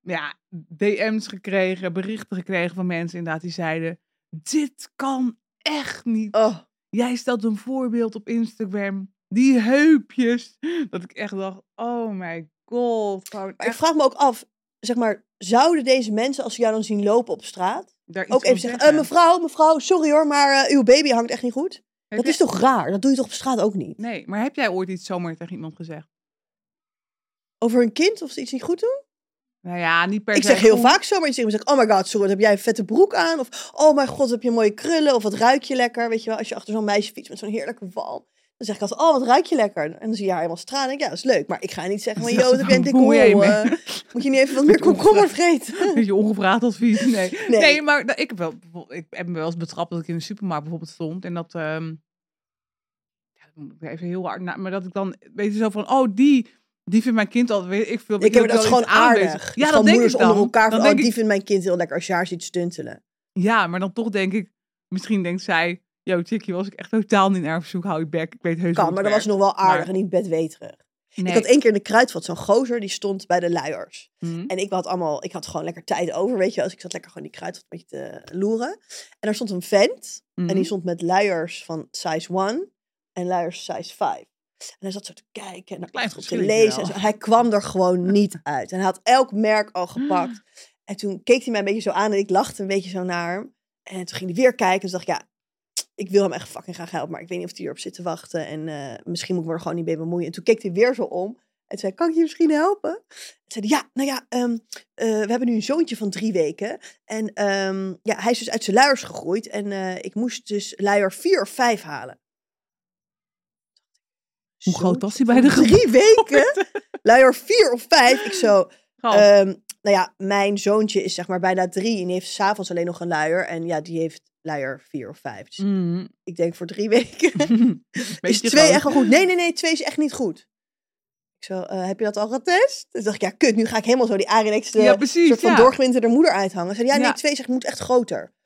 ja, DM's gekregen, berichten gekregen van mensen inderdaad die zeiden: Dit kan echt niet. [LAUGHS] Oh, Jij stelt een voorbeeld op Instagram. Die heupjes. Dat ik echt dacht: Oh my god. Gewoon maar ik echt vraag me ook af, zeg maar, zouden deze mensen als ze jou dan zien lopen op straat daar iets ook van even zeggen, "Eh, mevrouw, mevrouw, sorry hoor, maar eh, uw baby hangt echt niet goed? Heb Dat jij- is toch raar? Dat doe je toch op straat ook niet? Nee, maar heb jij ooit iets zomaar tegen iemand gezegd? Over een kind of ze iets niet goed doen? Nou ja, niet per Ik se. zeg heel Oh, vaak zomaar iets tegen iemand. Zeg, oh my god, sorry, wat heb jij een vette broek aan? Of oh mijn god, wat heb je mooie krullen? Of wat ruik je lekker? Weet je wel, als je achter zo'n meisje fietst met zo'n heerlijke walm. Dan zeg ik altijd, oh wat ruik je lekker? En dan zie je haar helemaal stralen. Dan denk ik, ja, dat is leuk. Maar ik ga niet zeggen [LAUGHS] van, dat joh, is wat heb jij een dikke bemoei je hol? mee. eh, moet je niet even wat [LAUGHS] meer komkommer vreten? Beetje ongevraagd advies. Nee, nee. Nee. maar da- ik heb, wel, bijvoorbeeld- ik heb me wel eens betrapt dat ik in de supermarkt bijvoorbeeld stond. En dat. ehm, ja, dat moet ik even heel hard na. Maar dat ik dan. Weet je zo van. Oh, die. Die vindt mijn kind altijd. weet Ik, veel, Ik wil heb dat wel is gewoon iets aanwijzen. aardig. Dus Ja, gewoon dat denk moeders ik dan. onder elkaar. Van, Dan oh, denk die ik, vindt mijn kind heel lekker als je haar ziet stuntelen. ja, maar dan toch denk ik. Misschien denkt zij. Yo, chickie, was ik echt totaal niet naar op zoek. Hou je bek. Ik weet heus Kan, hoe maar het dat was werkt. nog wel aardig Maar- en niet bedweterig. Nee. Ik had één keer in de kruidvat zo'n gozer, die stond bij de luiers. Hm. En ik had allemaal, ik had gewoon lekker tijd over, weet je wel. Dus ik zat lekker gewoon in die kruidvat met je te loeren. En daar stond een vent, en die Mhm. stond met luiers van size 1 en luiers size 5. En hij zat zo te kijken en daar Klein op te verschilletje lezen. En wel. zo. Hij kwam er [LAUGHS] gewoon niet uit. En hij had elk merk al gepakt. Ah. En toen keek hij mij een beetje zo aan en ik lachte een beetje zo naar hem. En toen ging hij weer kijken en toen dacht ik, ja, ik wil hem echt fucking graag helpen. Maar ik weet niet of hij hierop zit te wachten. En eh, misschien moet ik me er gewoon niet mee bemoeien. En toen keek hij weer zo om. En zei, kan ik je misschien helpen? En zei hij, ja, nou ja, ehm, eh, we hebben nu een zoontje van drie weken. En ehm, ja, hij is dus uit zijn luiers gegroeid. En eh, ik moest dus luier vier of vijf halen. Hoe groot was hij bij Zoontje de van groep? Drie [LAUGHS] weken? Luier vier of vijf? Ik zo, Oh. Ehm, nou ja, mijn zoontje is zeg maar bijna drie en die heeft s'avonds alleen nog een luier. En ja, die heeft luier vier of vijf. Dus [LAUGHS] Mhm. ik denk voor drie [LAUGHS] weken is Beetje twee groot. echt wel goed. Nee, nee, nee, twee is echt niet goed. Ik zo, eh, heb je dat al getest? Dus dacht ik, ja, kut, nu ga ik helemaal zo die Arinex de Ja, precies. eh, soort van ja. doorgewinterde moeder uithangend. Zei, hij, ja, nee, Ja. twee zegt, moet echt groter.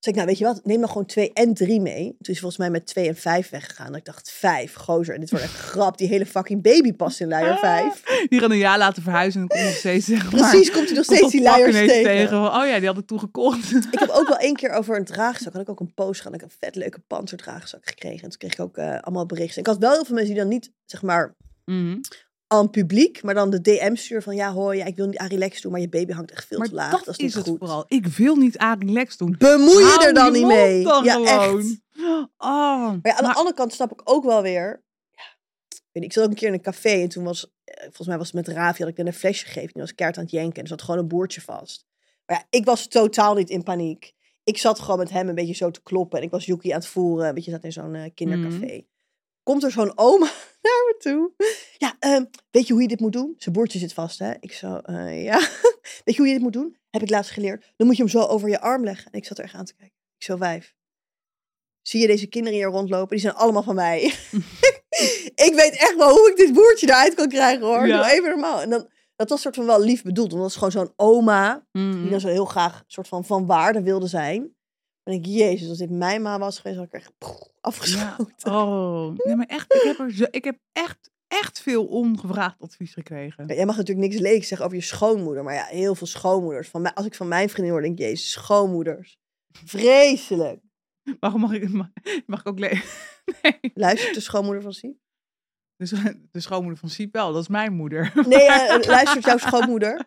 Zeg ik, nou weet je wat, neem dan gewoon twee en drie mee. Toen is hij volgens mij met twee en vijf weggegaan. Dat ik dacht, vijf, gozer. En dit wordt echt [LAUGHS] een grap. Die hele fucking baby past in luier Ah. vijf. Die gaan een jaar laten verhuizen en dan komt nog steeds zeg maar. Precies, komt hij nog steeds komt die dat pak luiers ineens tegen. Oh ja, die had ik toen gekocht. Ik heb ook wel één keer over een draagzak. Had ik ook een post gehad. Ik heb een vet leuke panzerdraagzak gekregen. En toen kreeg ik ook eh, allemaal berichten. Ik had wel heel veel mensen die dan niet, zeg maar, [LAUGHS] Mhm. aan publiek, maar dan de DM sturen van ja, hoi, ja, ik wil niet aan relax doen, maar je baby hangt echt veel Maar te laag. dat, dat is is, niet het goed. vooral. Ik wil niet Arilex doen. Bemoei je Hou er dan niet mond mee. dan ja, gewoon. echt. Oh, Maar ja, aan maar- de andere kant snap ik ook wel weer. Ja, ik weet niet, ik zat ook een keer in een café en toen was, eh, volgens mij was het met Ravi, had ik dan een flesje gegeven. Die was kaart aan het jenken en er zat gewoon een boertje vast. Maar ja, ik was totaal niet in paniek. Ik zat gewoon met hem een beetje zo te kloppen en ik was Yuki aan het voeren. Weet je, zat in zo'n eh, kindercafé. Komt er zo'n oma [LAUGHS] naar me toe. Ja, ehm, weet je hoe je dit moet doen? Zijn boertje zit vast, hè? Ik zo, eh, ja. Weet je hoe je dit moet doen? Heb ik laatst geleerd. Dan moet je hem zo over je arm leggen. En ik zat er echt aan te kijken. Ik zo, wijf. zie je deze kinderen hier rondlopen? Die zijn allemaal van [LAUGHS] mij. [LAUGHS] ik weet echt wel hoe ik dit boertje eruit kan krijgen hoor. Ja. Doe even normaal. En dan, dat was soort van wel lief bedoeld. Want dat is gewoon zo'n oma Mhm. die Mm. dan zo heel graag soort van van waarde wilde zijn. En ik, jezus, als dit mijn ma was geweest, had ik er echt pff, Ja. afgeschoten. Oh, nee, maar echt, ik heb, er zo, ik heb echt, echt veel ongevraagd advies gekregen. Ja, Jij mag natuurlijk niks lelijks zeggen over je schoonmoeder. Maar ja, heel veel schoonmoeders. Van mij, als ik van mijn vriendin hoor, denk ik, jezus, schoonmoeders. Vreselijk. Waarom mag ik, mag, mag ik ook le- [LAUGHS] Nee. Luistert de schoonmoeder van Siep? Dus de schoonmoeder van Siep wel, dat is mijn moeder. [LAUGHS] Nee, eh, luistert jouw schoonmoeder?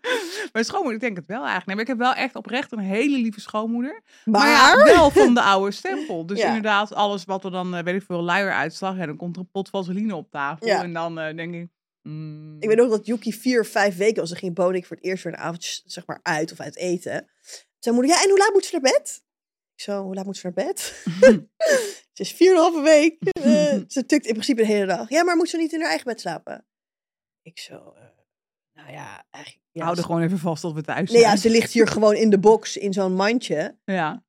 Mijn schoonmoeder, ik denk het wel eigenlijk. Nee, maar ik heb wel echt oprecht een hele lieve schoonmoeder. Maar, Maar, ja, wel van de oude stempel. Dus Ja. inderdaad, alles wat er dan, eh, weet ik veel, luier uitslag. En dan komt er een pot vaseline op tafel. Ja. En dan eh, denk ik... mm, ik weet ook dat Yuki vier, vijf weken was. Dan ging Bonik voor het eerst weer een avondje zeg maar, uit of uit eten. Toen zei moeder, ja, en hoe laat moet ze naar bed? Ik zo, hoe laat moet ze naar bed? [LAUGHS] [LAUGHS] Ze is vier en een halve week. Eh, ze tukt in principe de hele dag. Ja, maar moet ze niet in haar eigen bed slapen? Ik zo, eh, nou ja, eigenlijk... Ja, Hou er ze- gewoon even vast dat we thuis Nee, zijn. ja, ze ligt hier gewoon in de box in zo'n mandje. Ja.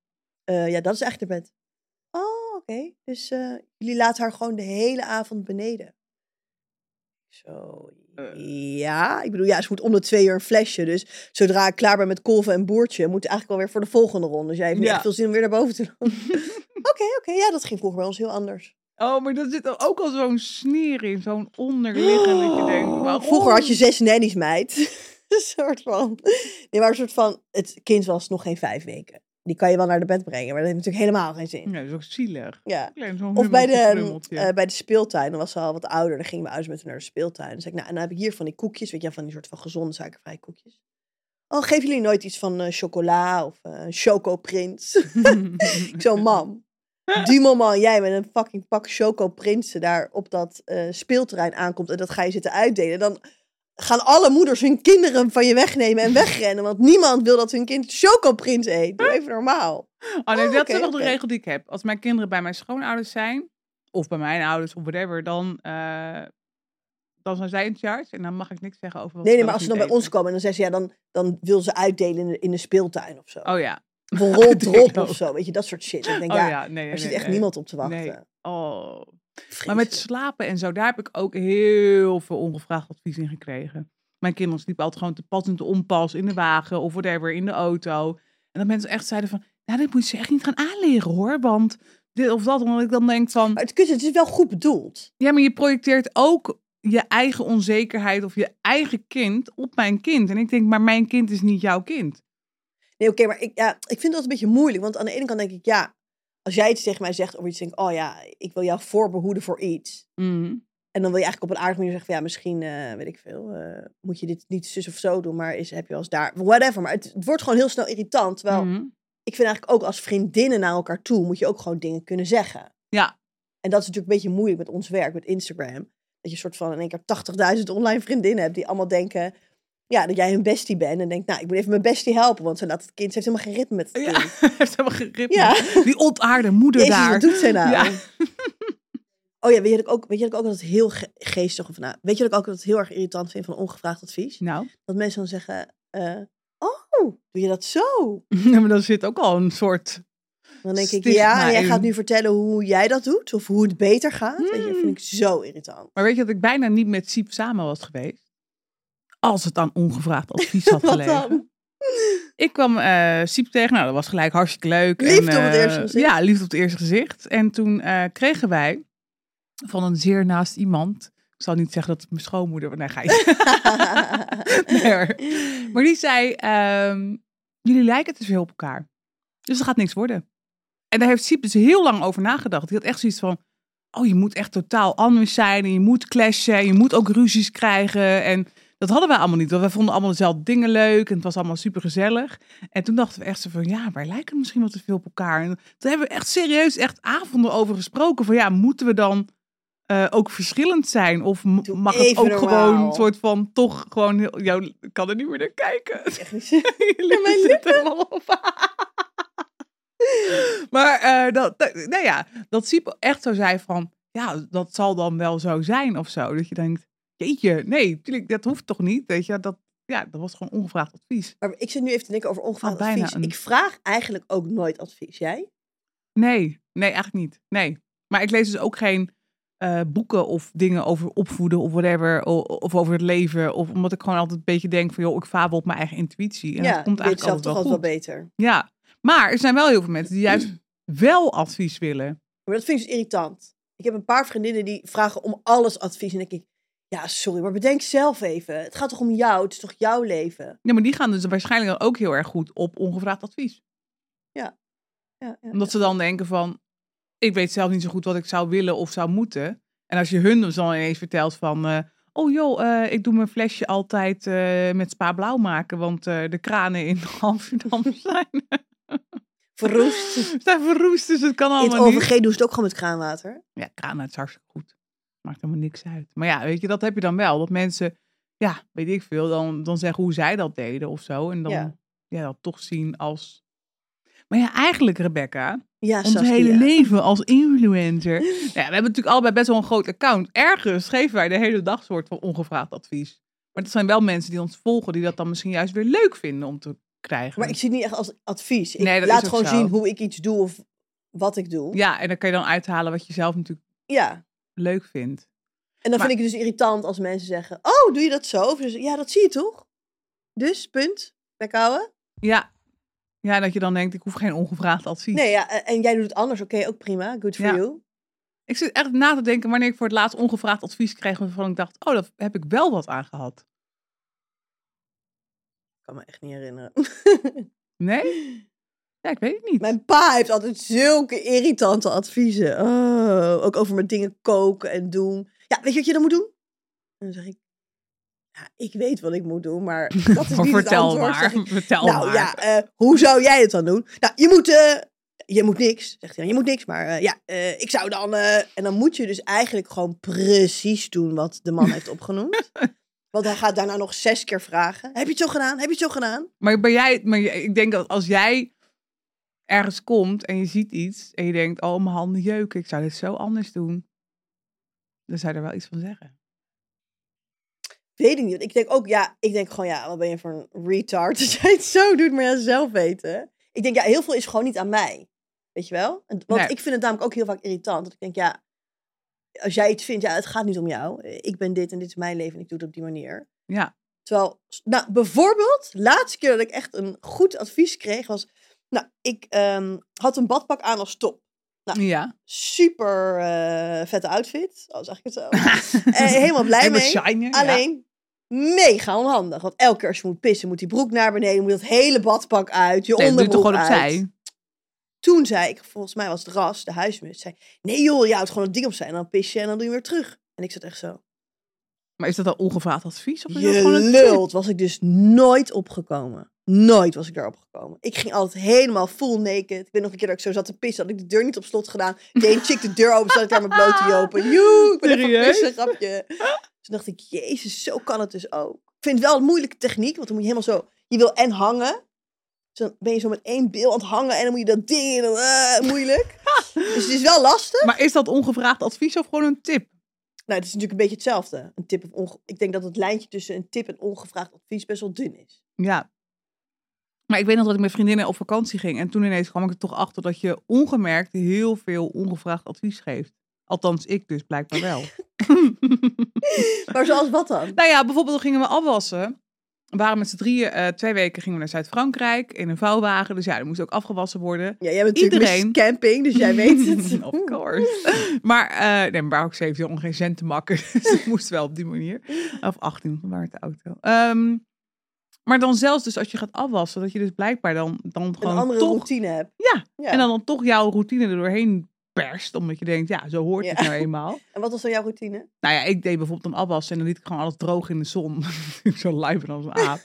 Eh, ja, dat is echt haar bed. Oh, oké. Dus eh, jullie laten haar gewoon de hele avond beneden. Zo. Eh. Ja, ik bedoel, ja, ze moet om de twee uur een flesje. Dus zodra ik klaar ben met kolven en boertje, moet ik eigenlijk alweer voor de volgende ronde. Dus jij heeft niet Ja. echt veel zin om weer naar boven te [LAUGHS] lopen. Oké, oké. Ja, dat ging vroeger bij ons heel anders. Oh, maar daar zit er ook al zo'n sneer in. Zo'n onderliggende dat je denkt... waarom? [GASPS] Oh, Vroeger had je zes nannies, meid. [LAUGHS] een soort van. Nee, maar een soort van. Het kind was nog geen vijf weken. Die kan je wel naar de bed brengen, maar dat heeft natuurlijk helemaal geen zin. Ja, dat is ook zielig. Ja. Klein, zo'n Of bij de, hummeltje, ehm, flummeltje. eh, bij de speeltuin, dan was ze al wat ouder. Dan gingen mijn ouders met haar naar de speeltuin. Dan zei ik, nou, en dan heb ik hier van die koekjes. Weet je, wel, van die soort van gezonde suikervrije koekjes. Oh, geven jullie nooit iets van eh, chocola of eh chocoprins? [LAUGHS] [LAUGHS] ik zo, mam. Die moment jij met een fucking pak chocoprinsen daar op dat eh, speelterrein aankomt... en dat ga je zitten uitdelen, dan gaan alle moeders hun kinderen van je wegnemen en wegrennen. Want niemand wil dat hun kind chocoprins eet. Doe even normaal. Oh nee, Oh, dat oké, is wel oké. de regel die ik heb. Als mijn kinderen bij mijn schoonouders zijn, of bij mijn ouders of whatever, dan, eh, dan zijn zij in charge en dan mag ik niks zeggen over wat Nee, nee, wel maar of als ze dan niet bij ons eten. komen en dan zeggen ze, ja, dan, dan wil ze uitdelen in de, in de speeltuin of zo. Oh ja. Of een [LAUGHS] rol drop Dildo. of zo, weet je, dat soort shit. Ik denk, Oh ja, ja, nee, nee, er zit nee, echt nee. niemand op te wachten. Nee. Oh. Maar Vreselijk. met slapen en zo, daar heb ik ook heel veel ongevraagd advies in gekregen. Mijn kinderen sliepen altijd gewoon te pas en te onpas in de wagen of whatever, in de auto. En dat mensen echt zeiden van, nou, dit moet je ze echt niet gaan aanleren hoor, want dit of dat. Omdat ik dan denk van, Maar het, kut, het is wel goed bedoeld. Ja, maar je projecteert ook je eigen onzekerheid of je eigen kind op mijn kind. En ik denk, maar mijn kind is niet jouw kind. Nee, oké, maar ik, ja, ik vind dat een beetje moeilijk. Want aan de ene kant denk ik, ja, als jij iets tegen mij zegt of iets denkt, oh ja, ik wil jou voorbehoeden voor iets. En dan wil je eigenlijk op een aardige manier zeggen, van, ja, misschien, eh, weet ik veel, eh, moet je dit niet zus of zo doen, maar is, heb je als daar, whatever. Maar het, het wordt gewoon heel snel irritant. Terwijl Mhm. ik vind eigenlijk ook als vriendinnen naar elkaar toe moet je ook gewoon dingen kunnen zeggen. Ja. En dat is natuurlijk een beetje moeilijk met ons werk, met Instagram. Dat je een soort van in één keer 80.000 online vriendinnen hebt die allemaal denken... Ja, dat jij hun bestie bent en denkt, nou, ik moet even mijn bestie helpen. Want ze laat het kind, ze heeft helemaal geen ritme met het Ja, kind. [LAUGHS] heeft helemaal geript. Ja. Die ontaarde moeder Jezus, daar. wat doet zij nou? Ja. [LAUGHS] Oh ja, weet je dat ik ook, weet je dat ik ook altijd heel ge- geestig of nou, Weet je dat ik ook altijd heel erg irritant vind van ongevraagd advies? Nou, Dat mensen dan zeggen, eh, oh, doe je dat zo? Nou, [LAUGHS] maar dan zit ook al een soort... Dan denk ik, Stigma ja, en jij in. gaat nu vertellen hoe jij dat doet of hoe het beter gaat. Weet je, dat Hmm. vind ik zo irritant. Maar weet je dat ik bijna niet met Siep samen was geweest? Als het aan ongevraagd advies [LAUGHS] had Wat gelegen. dan? Ik kwam eh, Siep tegen. Nou, dat was gelijk hartstikke leuk. Liefde En, op het eh, eerste gezicht. Ja, liefde op het eerste gezicht. En toen eh, kregen wij van een zeer naast iemand. Ik zal niet zeggen dat het mijn schoonmoeder... Nee, ga je. [LAUGHS] Nee, hoor. maar die zei, ehm, jullie lijken dus weer op elkaar. Dus er gaat niks worden. En daar heeft Siep dus heel lang over nagedacht. Die had echt zoiets van, oh, je moet echt totaal anders zijn. En je moet clashen. En je moet ook ruzies krijgen. En dat hadden wij allemaal niet. Want wij vonden allemaal dezelfde dingen leuk. En het was allemaal super gezellig. En toen dachten we echt zo van, ja, wij lijken misschien wel te veel op elkaar. En toen hebben we echt serieus echt avonden over gesproken. Van ja, moeten we dan... eh, ook verschillend zijn of m- Doe mag het even ook gewoon normaal. een soort van toch gewoon heel, jou ik kan er niet meer naar kijken. Echt niet. Jullie mijn zitten helemaal op. [LAUGHS] maar eh, dat, dat- nou ja, dat Siep echt zo zei van, ja, dat zal dan wel zo zijn of zo. Dat je denkt, jeetje, nee, tuurlijk, dat hoeft toch niet. Weet je, dat, ja, dat was gewoon ongevraagd advies. Maar ik zit nu even te denken over ongevraagd Al bijna advies. een- Ik vraag eigenlijk ook nooit advies. Jij? Nee, nee, eigenlijk niet. Nee. Maar ik lees dus ook geen eh, boeken of dingen over opvoeden of whatever. o- of over het leven. Of omdat ik gewoon altijd een beetje denk van, joh, ik fabel op mijn eigen intuïtie. En dat komt weet eigenlijk zelf altijd toch wel altijd wel goed. beter. ja. Maar er zijn wel heel veel mensen die juist wel advies willen. Maar dat vind ik dus irritant. Ik heb een paar vriendinnen die vragen om alles advies. En dan denk ik, ja, sorry, maar bedenk zelf even. Het gaat toch om jou? Het is toch jouw leven? Ja, maar die gaan dus waarschijnlijk dan ook heel erg goed op ongevraagd advies. Ja, ja. Omdat ze dan denken van, ik weet zelf niet zo goed wat ik zou willen of zou moeten. En als je hun dus dan ineens vertelt van, eh, oh joh, eh, ik doe mijn flesje altijd eh, met spa blauw maken, want eh, de kranen in [LAUGHS] Amsterdam zijn, Verroest. [LAUGHS] zijn verroest, dus het kan In het allemaal niet. OVG doen ze het ook gewoon met kraanwater. Ja, kranen is hartstikke goed. Maakt helemaal niks uit. Maar ja, weet je, dat heb je dan wel. Dat mensen, ja, weet ik veel, dan, dan zeggen hoe zij dat deden of zo. En dan ja. Ja. dat toch zien als... Maar ja, eigenlijk, Rebecca, Ja, ons Saskia. hele leven als [LAUGHS] influencer. Nou ja, we hebben natuurlijk allebei best wel een groot account. Ergens geven wij de hele dag soort van ongevraagd advies. Maar het zijn wel mensen die ons volgen, die dat dan misschien juist weer leuk vinden om te krijgen. Maar ik zie het niet echt als advies. Ik Nee, dat is laat ook gewoon zo. zien hoe ik iets doe of wat ik doe. Ja, en dan kan je dan uithalen wat je zelf natuurlijk Ja. leuk vindt. En dan Maar- vind ik het dus irritant als mensen zeggen: Oh, doe je dat zo? Of dus, ja, dat zie je toch? Dus, punt. Bek houden. Ja. ja, dat je dan denkt, ik hoef geen ongevraagd advies. Nee, ja, eh, en- en jij doet het anders. Oké, ook prima. Good for Ja. you. Ik zit echt na te denken wanneer ik voor het laatst ongevraagd advies kreeg waarvan ik dacht, oh, daar heb ik wel wat aan gehad. Ik kan me echt niet herinneren. [LAUGHS] Nee? Ja, ik weet het niet. Mijn pa heeft altijd zulke irritante adviezen. Oh, ook over mijn dingen koken en doen. Ja, weet je wat je dan moet doen? En dan zeg ik: Ja, ik weet wat ik moet doen, [LAUGHS] maar dat is Maar niet het vertel antwoord. maar, zeg ik. vertel nou maar. ja, eh, hoe zou jij het dan doen? Nou, je moet, eh, je moet niks, zegt hij dan. Je moet niks, maar eh, ja, eh, ik zou dan... eh, en dan moet je dus eigenlijk gewoon precies doen wat de man heeft opgenoemd. Want hij gaat daarna nog zes keer vragen. Heb je het zo gedaan? Heb je het zo gedaan? Maar, ben jij, maar jij- ik denk dat als jij ergens komt en je ziet iets en je denkt, oh mijn handen jeuken, ik zou dit zo anders doen. Dan zou je er wel iets van zeggen. Weet ik niet. Ik denk ook, ja, ik denk gewoon, ja, wat ben je voor een retard [LAUGHS] dat jij het zo doet, maar ja, zelf weten. Ik denk, ja, heel veel is gewoon niet aan mij. Weet je wel? En- Want Nee. ik vind het namelijk ook heel vaak irritant. Dat ik denk, ja, als jij iets vindt, ja, het gaat niet om jou. Ik ben dit en dit is mijn leven en ik doe het op die manier. Ja. Terwijl, nou, bijvoorbeeld, laatste keer dat ik echt een goed advies kreeg was, nou, ik ehm, had een badpak aan als top. Ja. Super eh, vette outfit. Oh, zag ik [LAUGHS] het zo? Eh, helemaal blij Helemaal mee. shiny, ja. Alleen mega onhandig. Want elke keer als je moet pissen, moet die broek naar beneden, moet dat hele badpak uit, je Nee, doe het onderbroek toch gewoon uit. opzij. Toen zei ik, volgens mij was het ras, de huismus, zei: Nee joh, je houdt gewoon het ding opzij en dan pis je en dan doe je hem weer terug. En ik zat echt zo. Maar is dat dan ongevraagd advies? Of is dat Je gewoon een tip? lult, was ik dus nooit opgekomen. Nooit was ik daarop gekomen. Ik ging altijd helemaal full naked. Ik weet nog een keer dat ik zo zat te pissen, had ik de deur niet op slot gedaan. Deed een chick de deur open, zat ik daar met blote jopen. [LAUGHS] Joe, ik ben even aan het Serieus? pissen, grapje. Toen dacht ik, jezus, zo kan het dus ook. Ik vind het wel een moeilijke techniek, want dan moet je helemaal zo... Je wil en hangen. Dus dan ben je zo met één bil aan het hangen en dan moet je dat ding... in, dan, eh, [LAUGHS] moeilijk. Dus het is wel lastig. Maar is dat ongevraagd advies of gewoon een tip? Nou, het is natuurlijk een beetje hetzelfde. Een tip of onge- Ik denk dat het lijntje tussen een tip en ongevraagd advies best wel dun is. Ja. Maar ik weet nog dat ik met vriendinnen op vakantie ging. En toen ineens kwam ik er toch achter dat je ongemerkt heel veel ongevraagd advies geeft. Althans, ik dus blijkbaar [LAUGHS] wel. Maar zoals wat dan? Nou ja, bijvoorbeeld gingen we afwassen. We waren met z'n drieën, eh, twee weken gingen we naar Zuid-Frankrijk in een vouwwagen. Dus ja, er moest ook afgewassen worden. Ja, jij bent natuurlijk Iedereen. Miss camping, dus jij weet [LAUGHS] [LAUGHS] het. of course. Maar, eh nee, maar waar ook 17 om geen cent te makken. [LAUGHS] Dus het moest wel op die manier. Of 18, want we waren met de auto. Ehm, maar dan zelfs dus als je gaat afwassen, dat je dus blijkbaar dan, dan Een gewoon andere toch... routine heb. Ja, ja. En dan, dan toch jouw routine er doorheen perst. Omdat je denkt, ja, zo hoort Ja. het nou eenmaal. En wat was dan jouw routine? Nou ja, ik deed bijvoorbeeld een afwassen en dan liet ik gewoon alles droog in de zon. [LAUGHS] Ik zo lijp en als een [LAUGHS] aap.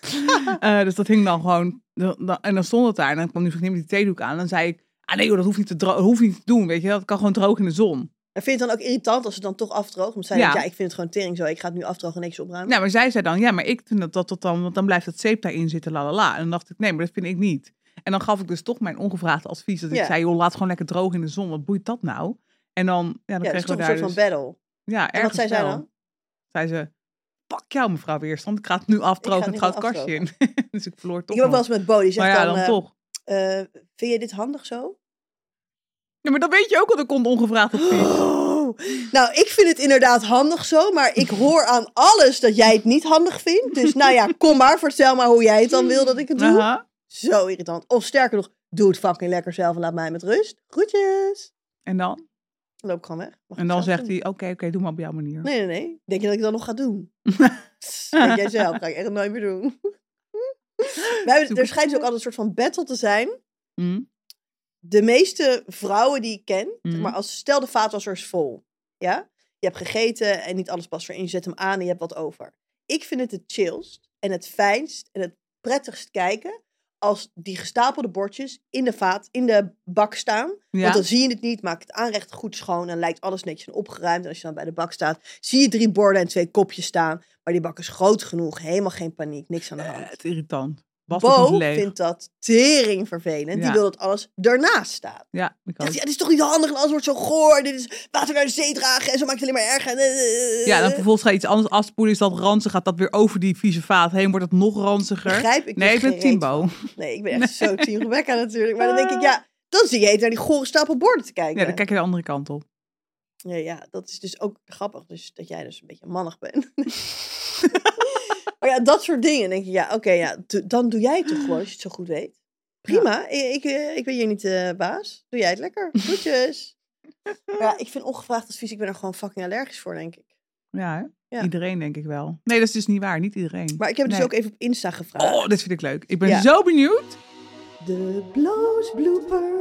Eh, dus dat hing dan gewoon. dan- dan- en dan stond het daar en dan kwam die vriendin met die theedoek aan. En dan zei ik, ah nee joh, dat hoeft niet te, dro- hoeft niet te doen, weet je. Dat kan gewoon droog in de zon. En vind je het dan ook irritant als het dan toch afdroogt? Want zij Ja. denkt, ja, ik vind het gewoon tering zo. Ik ga het nu afdrogen en niks opruimen. Nou, maar zij zei dan, ja, maar ik vind dat, dat, dat dan, want dan blijft dat zeep daarin zitten, la la la. En dan dacht ik, nee, maar dat vind ik niet. En dan gaf ik dus toch mijn ongevraagd advies. Dat ik Ja. zei, joh, laat gewoon lekker droog in de zon. Wat boeit dat nou? En dan, ja, dan ja, dat is kregen we toch een daar soort van dus- battle. Ja, En wat ergens zei zij wel. dan? Zei ze, pak jou mevrouw Weerstand. Ik ga het nu afdrogen en het het nu gaat het kastje in. [LAUGHS] dus ik verloor toch ik heb ook nog. eh, wel eens met Bo, die zegt Maar ja, dan, dan eh, toch. eh, vind je dit handig zo? Ja, maar dan weet je ook al, er komt [GASPS] ongevraagd advies. Oh. [GASPS] Nou, ik vind het inderdaad handig zo, maar ik hoor aan alles dat jij het niet handig vindt. Dus nou ja, kom maar, vertel maar hoe jij het dan wil dat ik [LAUGHS] het doe. Aha. Zo irritant. Of sterker nog, doe het fucking lekker zelf en laat mij met rust. Groetjes. En dan? Dan loop ik gewoon weg. Mag En ik dan zelf zegt doen? hij, oké, oké, doe maar op jouw manier. Nee, nee, nee. Denk je dat ik dat nog ga [LAUGHS] doen? Pss, Denk jij zelf, ga ik echt nooit meer doen. We hebben, er schijnt dus ook altijd een soort van battle te zijn. Hm? De meeste vrouwen die ik ken, zeg Mhm. maar als, stel de vaatwasser is vol. Ja? Je hebt gegeten en niet alles past erin. Je zet hem aan en je hebt wat over. Ik vind het het chillst en het fijnst en het prettigst kijken als die gestapelde bordjes in de vaat, in de bak staan. Ja. Want dan zie je het niet, maak het aanrecht goed schoon en lijkt alles netjes en opgeruimd. En als je dan bij de bak staat, zie je drie borden en twee kopjes staan. Maar die bak is groot genoeg, helemaal geen paniek, niks aan de Eh, hand. het is irritant. Was het Bo niet leeg? vindt dat tering vervelend. Ja. Die wil dat alles ernaast staat. Ja, ik Zegt ook. hij, ja, dit is toch niet handig en alles wordt zo goor. Dit is water naar de zee dragen en zo maakt het alleen maar erger. En, eh, Ja, dan vervolgens ga je iets anders afspoelen. Is dat ranzig? Gaat dat weer over die vieze vaat heen? Wordt het nog ranziger? Begrijp ik Nee, ik dus geen ben reet Timbo. van. Nee, ik ben [LAUGHS] echt zo team Rebecca natuurlijk. Maar dan denk ik, ja, dan zie je het naar die gore stapel borden te kijken. Ja, dan kijk je de andere kant op. Ja, ja, dat is dus ook grappig. Dus dat jij dus een beetje mannig [LAUGHS] bent. maar ja, dat soort dingen. Dan denk je, ja, oké, ja, do- dan doe jij het toch gewoon als je het zo goed weet. Prima, ik, ik, eh, ik ben hier niet de baas. Doe jij het [LAUGHS] lekker. Groetjes. Maar ja, ik vind ongevraagd advies, ik ben er gewoon fucking allergisch voor, denk ik. Ja, hè? Ja. iedereen denk ik wel. Nee, dat is dus niet waar. Niet iedereen. Maar ik heb dus Nee. ook even op Insta gevraagd. Oh, dit vind ik leuk. Ik ben Ja. zo benieuwd. De bloos blooper.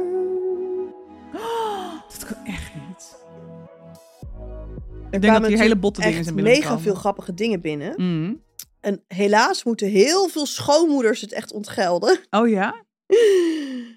Oh, dat kan echt niet. Er Ik denk kwamen dat hier hele natuurlijk botte dingen echt zijn mega binnengekomen. veel grappige dingen binnen. Mm. En helaas moeten heel veel schoonmoeders het echt ontgelden. [LAUGHS] Oh ja?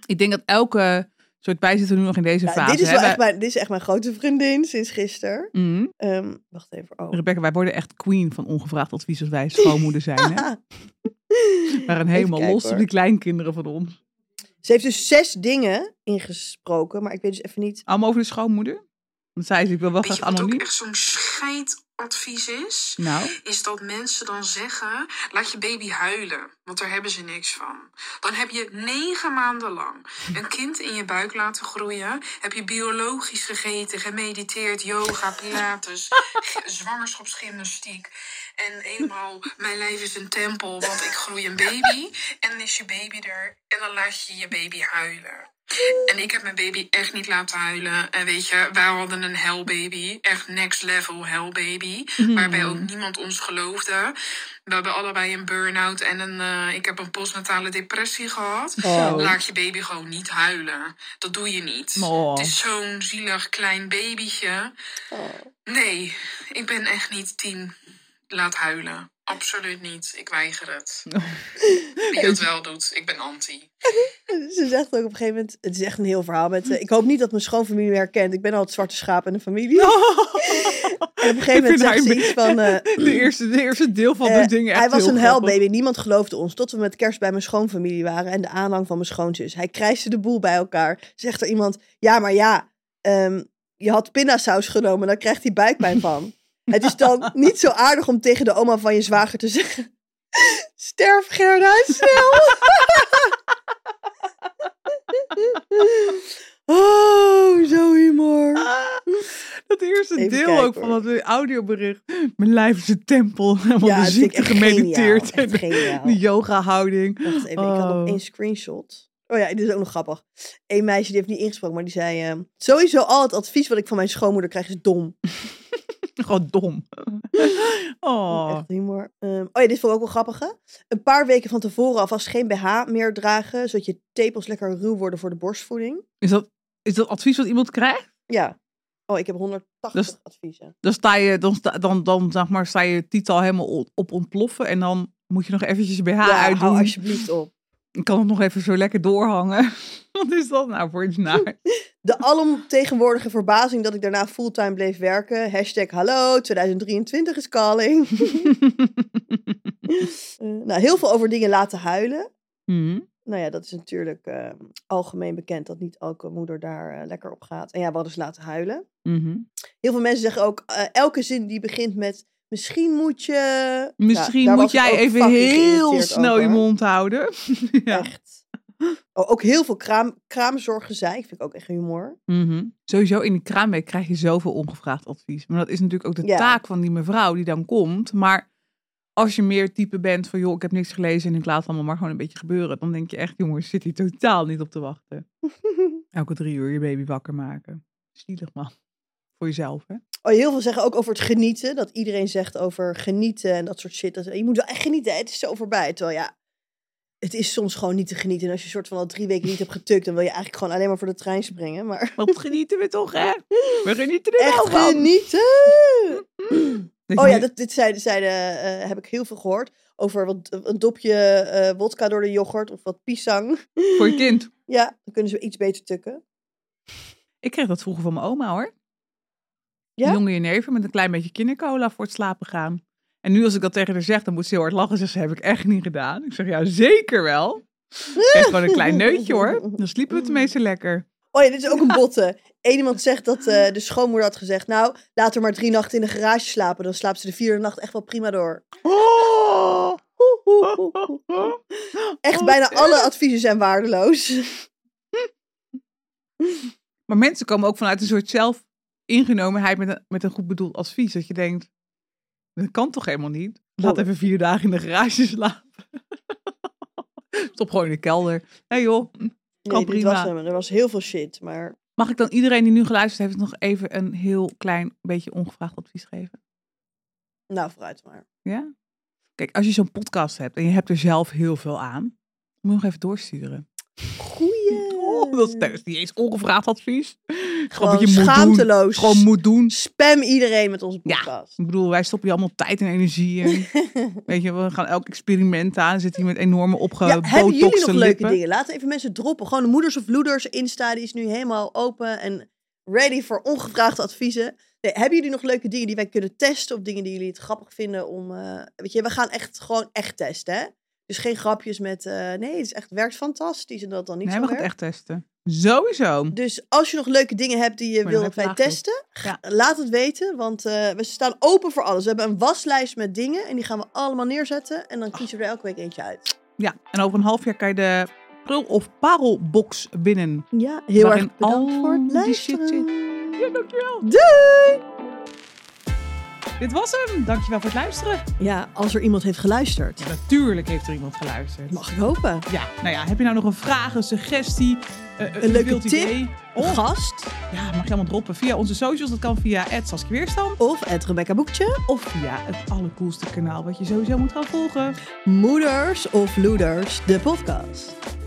Ik denk dat elke soort bij zitten we nu nog in deze Ja, fase. Nou, dit, is hè? wel Wij- echt mijn, dit is echt mijn grote vriendin sinds gisteren. Mm. Ehm, wacht even. Oh. Rebecca, wij worden echt queen van ongevraagd advies als wij schoonmoeder [LAUGHS] zijn. Hè? We waren helemaal kijken, los op hoor. die kleinkinderen van ons. [LAUGHS] Ze heeft dus zes dingen ingesproken, maar ik weet dus even niet. [LAUGHS] Allemaal over de schoonmoeder? Want zij is, ik wil wel Weet graag je wat ook anoniem. echt zo'n scheidadvies is? Nou, Is dat mensen dan zeggen: laat je baby huilen, want daar hebben ze niks van. Dan heb je negen maanden lang een kind in je buik laten groeien. Heb je biologisch gegeten, gemediteerd, yoga, pilates, g- zwangerschapsgymnastiek. En eenmaal, mijn lijf is een tempel, want ik groei een baby. En dan is je baby er en dan laat je je baby huilen. En ik heb mijn baby echt niet laten huilen. En weet je, wij hadden een hellbaby. Echt next level hellbaby. Waarbij ook niemand ons geloofde. We hebben allebei een burn-out en een, eh, ik heb een postnatale depressie gehad. Oh. Laat je baby gewoon niet huilen. Dat doe je niet. Oh. Het is zo'n zielig klein babytje. Nee, ik ben echt niet tien. Laat huilen. Absoluut niet. Ik weiger het. Wie dat wel doet, ik ben anti. Ze zegt ook op een gegeven moment: Het is echt een heel verhaal. Met, eh, ik hoop niet dat mijn schoonfamilie me herkent. Ik ben al het zwarte schaap in de familie. Oh. En op een gegeven Ik moment vind zegt haar ze iets [LAUGHS] van. eh, de eerste, de eerste deel van eh, de dingen. echt hij was heel een grappig. helbaby. Niemand geloofde ons. Tot we met kerst bij mijn schoonfamilie waren en de aanhang van mijn schoonzus. Hij krijste de boel bij elkaar. Zegt er iemand: Ja, maar ja, ehm, je had pindasaus genomen. Dan krijgt hij [LAUGHS] buikpijn van. Het is dan niet zo aardig om tegen de oma van je zwager te zeggen: Sterf Gerda, [LAUGHS] snel. oh, zo humor. Ah, dat eerste Even deel kijken, ook van hoor. dat audiobericht. Mijn lijf is een tempel. [LAUGHS] Helemaal Ja, de dat vind ik ziekte echt gemediteerd. geniaal, echt en geniaal. de yoga-houding. Wacht even, ik had Oh. nog één screenshot. Oh ja, dit is ook nog grappig. Eén meisje die heeft niet ingesproken, maar die zei... ehm, Sowieso al het advies wat ik van mijn schoonmoeder krijg is dom. Gewoon [LAUGHS] dom. Oh. Echt humor. Ehm, oh ja, dit vond ik ook wel grappig, hè? Een paar weken van tevoren alvast geen BH meer dragen... zodat je tepels lekker ruw worden voor de borstvoeding. Is dat, is dat advies wat iemand krijgt? Ja. Oh, ik heb Dus 180 Dat is- adviezen. Dan sta je, dan, sta- dan, dan zeg maar, sta je titel helemaal op, op ontploffen. En dan moet je nog eventjes je BH ja, hou uitdoen. alsjeblieft op. Ik kan het nog even zo lekker doorhangen. [LAUGHS] Wat is dat nou voor iets [LAUGHS] naar? De alomtegenwoordige verbazing dat ik daarna fulltime bleef werken. Hashtag hallo, 2023 is calling. [LAUGHS] Eh, nou, heel veel over dingen laten huilen. Hm. Nou ja, dat is natuurlijk eh, algemeen bekend dat niet elke moeder daar eh, lekker op gaat. En ja, we hadden ze laten huilen. Mhm. Heel veel mensen zeggen ook, eh, elke zin die begint met misschien moet je... Nou, Misschien daar moet was ik jij ook even fucking heel geïrriteerd snel je over. mond houden. [LAUGHS] ja. Echt. Oh, ook heel veel kraam, kraamzorggezeik vind ik ook echt humor. [LAUGHS] Mhm. Sowieso in die kraamweek krijg je zoveel ongevraagd advies. Maar dat is natuurlijk ook de Ja. taak van die mevrouw die dan komt. Maar als je meer het type bent van joh, ik heb niks gelezen en ik laat het allemaal maar gewoon een beetje gebeuren. Dan denk je echt, jongens, zit hier totaal niet op te wachten. Elke drie uur je baby wakker maken. Zielig man. Voor jezelf hè. Oh, heel veel zeggen ook over het genieten. Dat iedereen zegt over genieten en dat soort shit. Dat, je moet wel echt genieten, hè, het is zo voorbij. Terwijl ja, het is soms gewoon niet te genieten. En als je soort van al drie weken niet hebt getukt, dan wil je eigenlijk gewoon alleen maar voor de trein springen. Maar Wat genieten we toch hè? We genieten er echt wel van. [CLEARS THROAT] genieten! Dat nou Oh je ja, nu- dat, dit zeiden, zeiden, eh, heb ik heel veel gehoord. Over wat, een dopje eh wodka door de yoghurt of wat pisang. [LAUGHS] Voor je kind. Ja, dan kunnen ze iets beter tukken. Ik kreeg dat vroeger van mijn oma hoor. Ja? Een jonge jenever met een klein beetje kindercola voor het slapen gaan. En nu als ik dat tegen haar zeg, dan moet ze heel hard lachen. Ze zegt, heb ik echt niet gedaan. Ik zeg, ja, zeker wel. Echt gewoon een klein neutje hoor. Dan sliepen we tenminste lekker. Oh ja, dit is ook een botte. Eén iemand zegt dat eh, de schoonmoeder had gezegd... nou, laat er maar drie nachten in de garage slapen. Dan slaapt ze de vierde nacht echt wel prima door. Echt Oh, bijna eh. alle adviezen zijn [LAUGHS] waardeloos. Maar mensen komen ook vanuit een soort zelfingenomenheid met een, met een goed bedoeld advies. Dat je denkt, dat kan toch helemaal niet? Laat even vier dagen in de garage slapen. [LAUGHS] Stop gewoon in de kelder. Nee joh. Nee, dit prima. was hem. Er was heel veel shit, maar... Mag ik dan iedereen die nu geluisterd heeft nog even een heel klein beetje ongevraagd advies geven? Nou, vooruit maar. Ja? Kijk, als je zo'n podcast hebt en je hebt er zelf heel veel aan, moet je nog even doorsturen. Goeie. Oh, dat is, dat is niet eens ongevraagd advies. Gewoon Gewoon wat je moet doen. schaamteloos. Gewoon moet doen. Spam iedereen met onze Ja. podcast. Ik bedoel, wij stoppen hier allemaal tijd en energie [LAUGHS] in. Weet je, we gaan elk experiment aan. Dan zit hier met enorme Ja, opgebotoxte hebben jullie nog leuke lippen. dingen? Laat even mensen droppen. Gewoon de moeders of loeders Insta, die is nu helemaal open en ready voor ongevraagde adviezen. Nee, hebben jullie nog leuke dingen die wij kunnen testen of dingen die jullie het grappig vinden om... eh, weet je, we gaan echt gewoon echt testen, hè? Dus geen grapjes met, eh, nee, het is echt, werkt fantastisch en dat dan niet Nee, zo we gaan het werkt. echt testen. Sowieso. Dus als je nog leuke dingen hebt die je dan wil heb dat wij je laagdruk. testen, ga- laat het weten. Want eh, we staan open voor alles. We hebben een waslijst met dingen en die gaan we allemaal neerzetten. En dan kiezen we er elke week eentje uit. Ja, en over een half jaar kan je de prul- of parelbox winnen. Ja, heel Waarin erg bedankt al voor het die shit luisteren. Ja, dankjewel. Doei! Dit was hem. Dankjewel voor het luisteren. Ja, als er iemand heeft geluisterd. Natuurlijk heeft er iemand geluisterd. Mag ik hopen. Ja, nou ja, heb je nou nog een vraag, een suggestie, eh, een, leuke wild tip? idee? Een Oh, gast ja, mag je allemaal droppen via onze socials. Dat kan via Saskia Weerstam of het Rebecca Boekje. of via het allercoolste kanaal wat je sowieso moet gaan volgen. Moeders of Loeders, de podcast.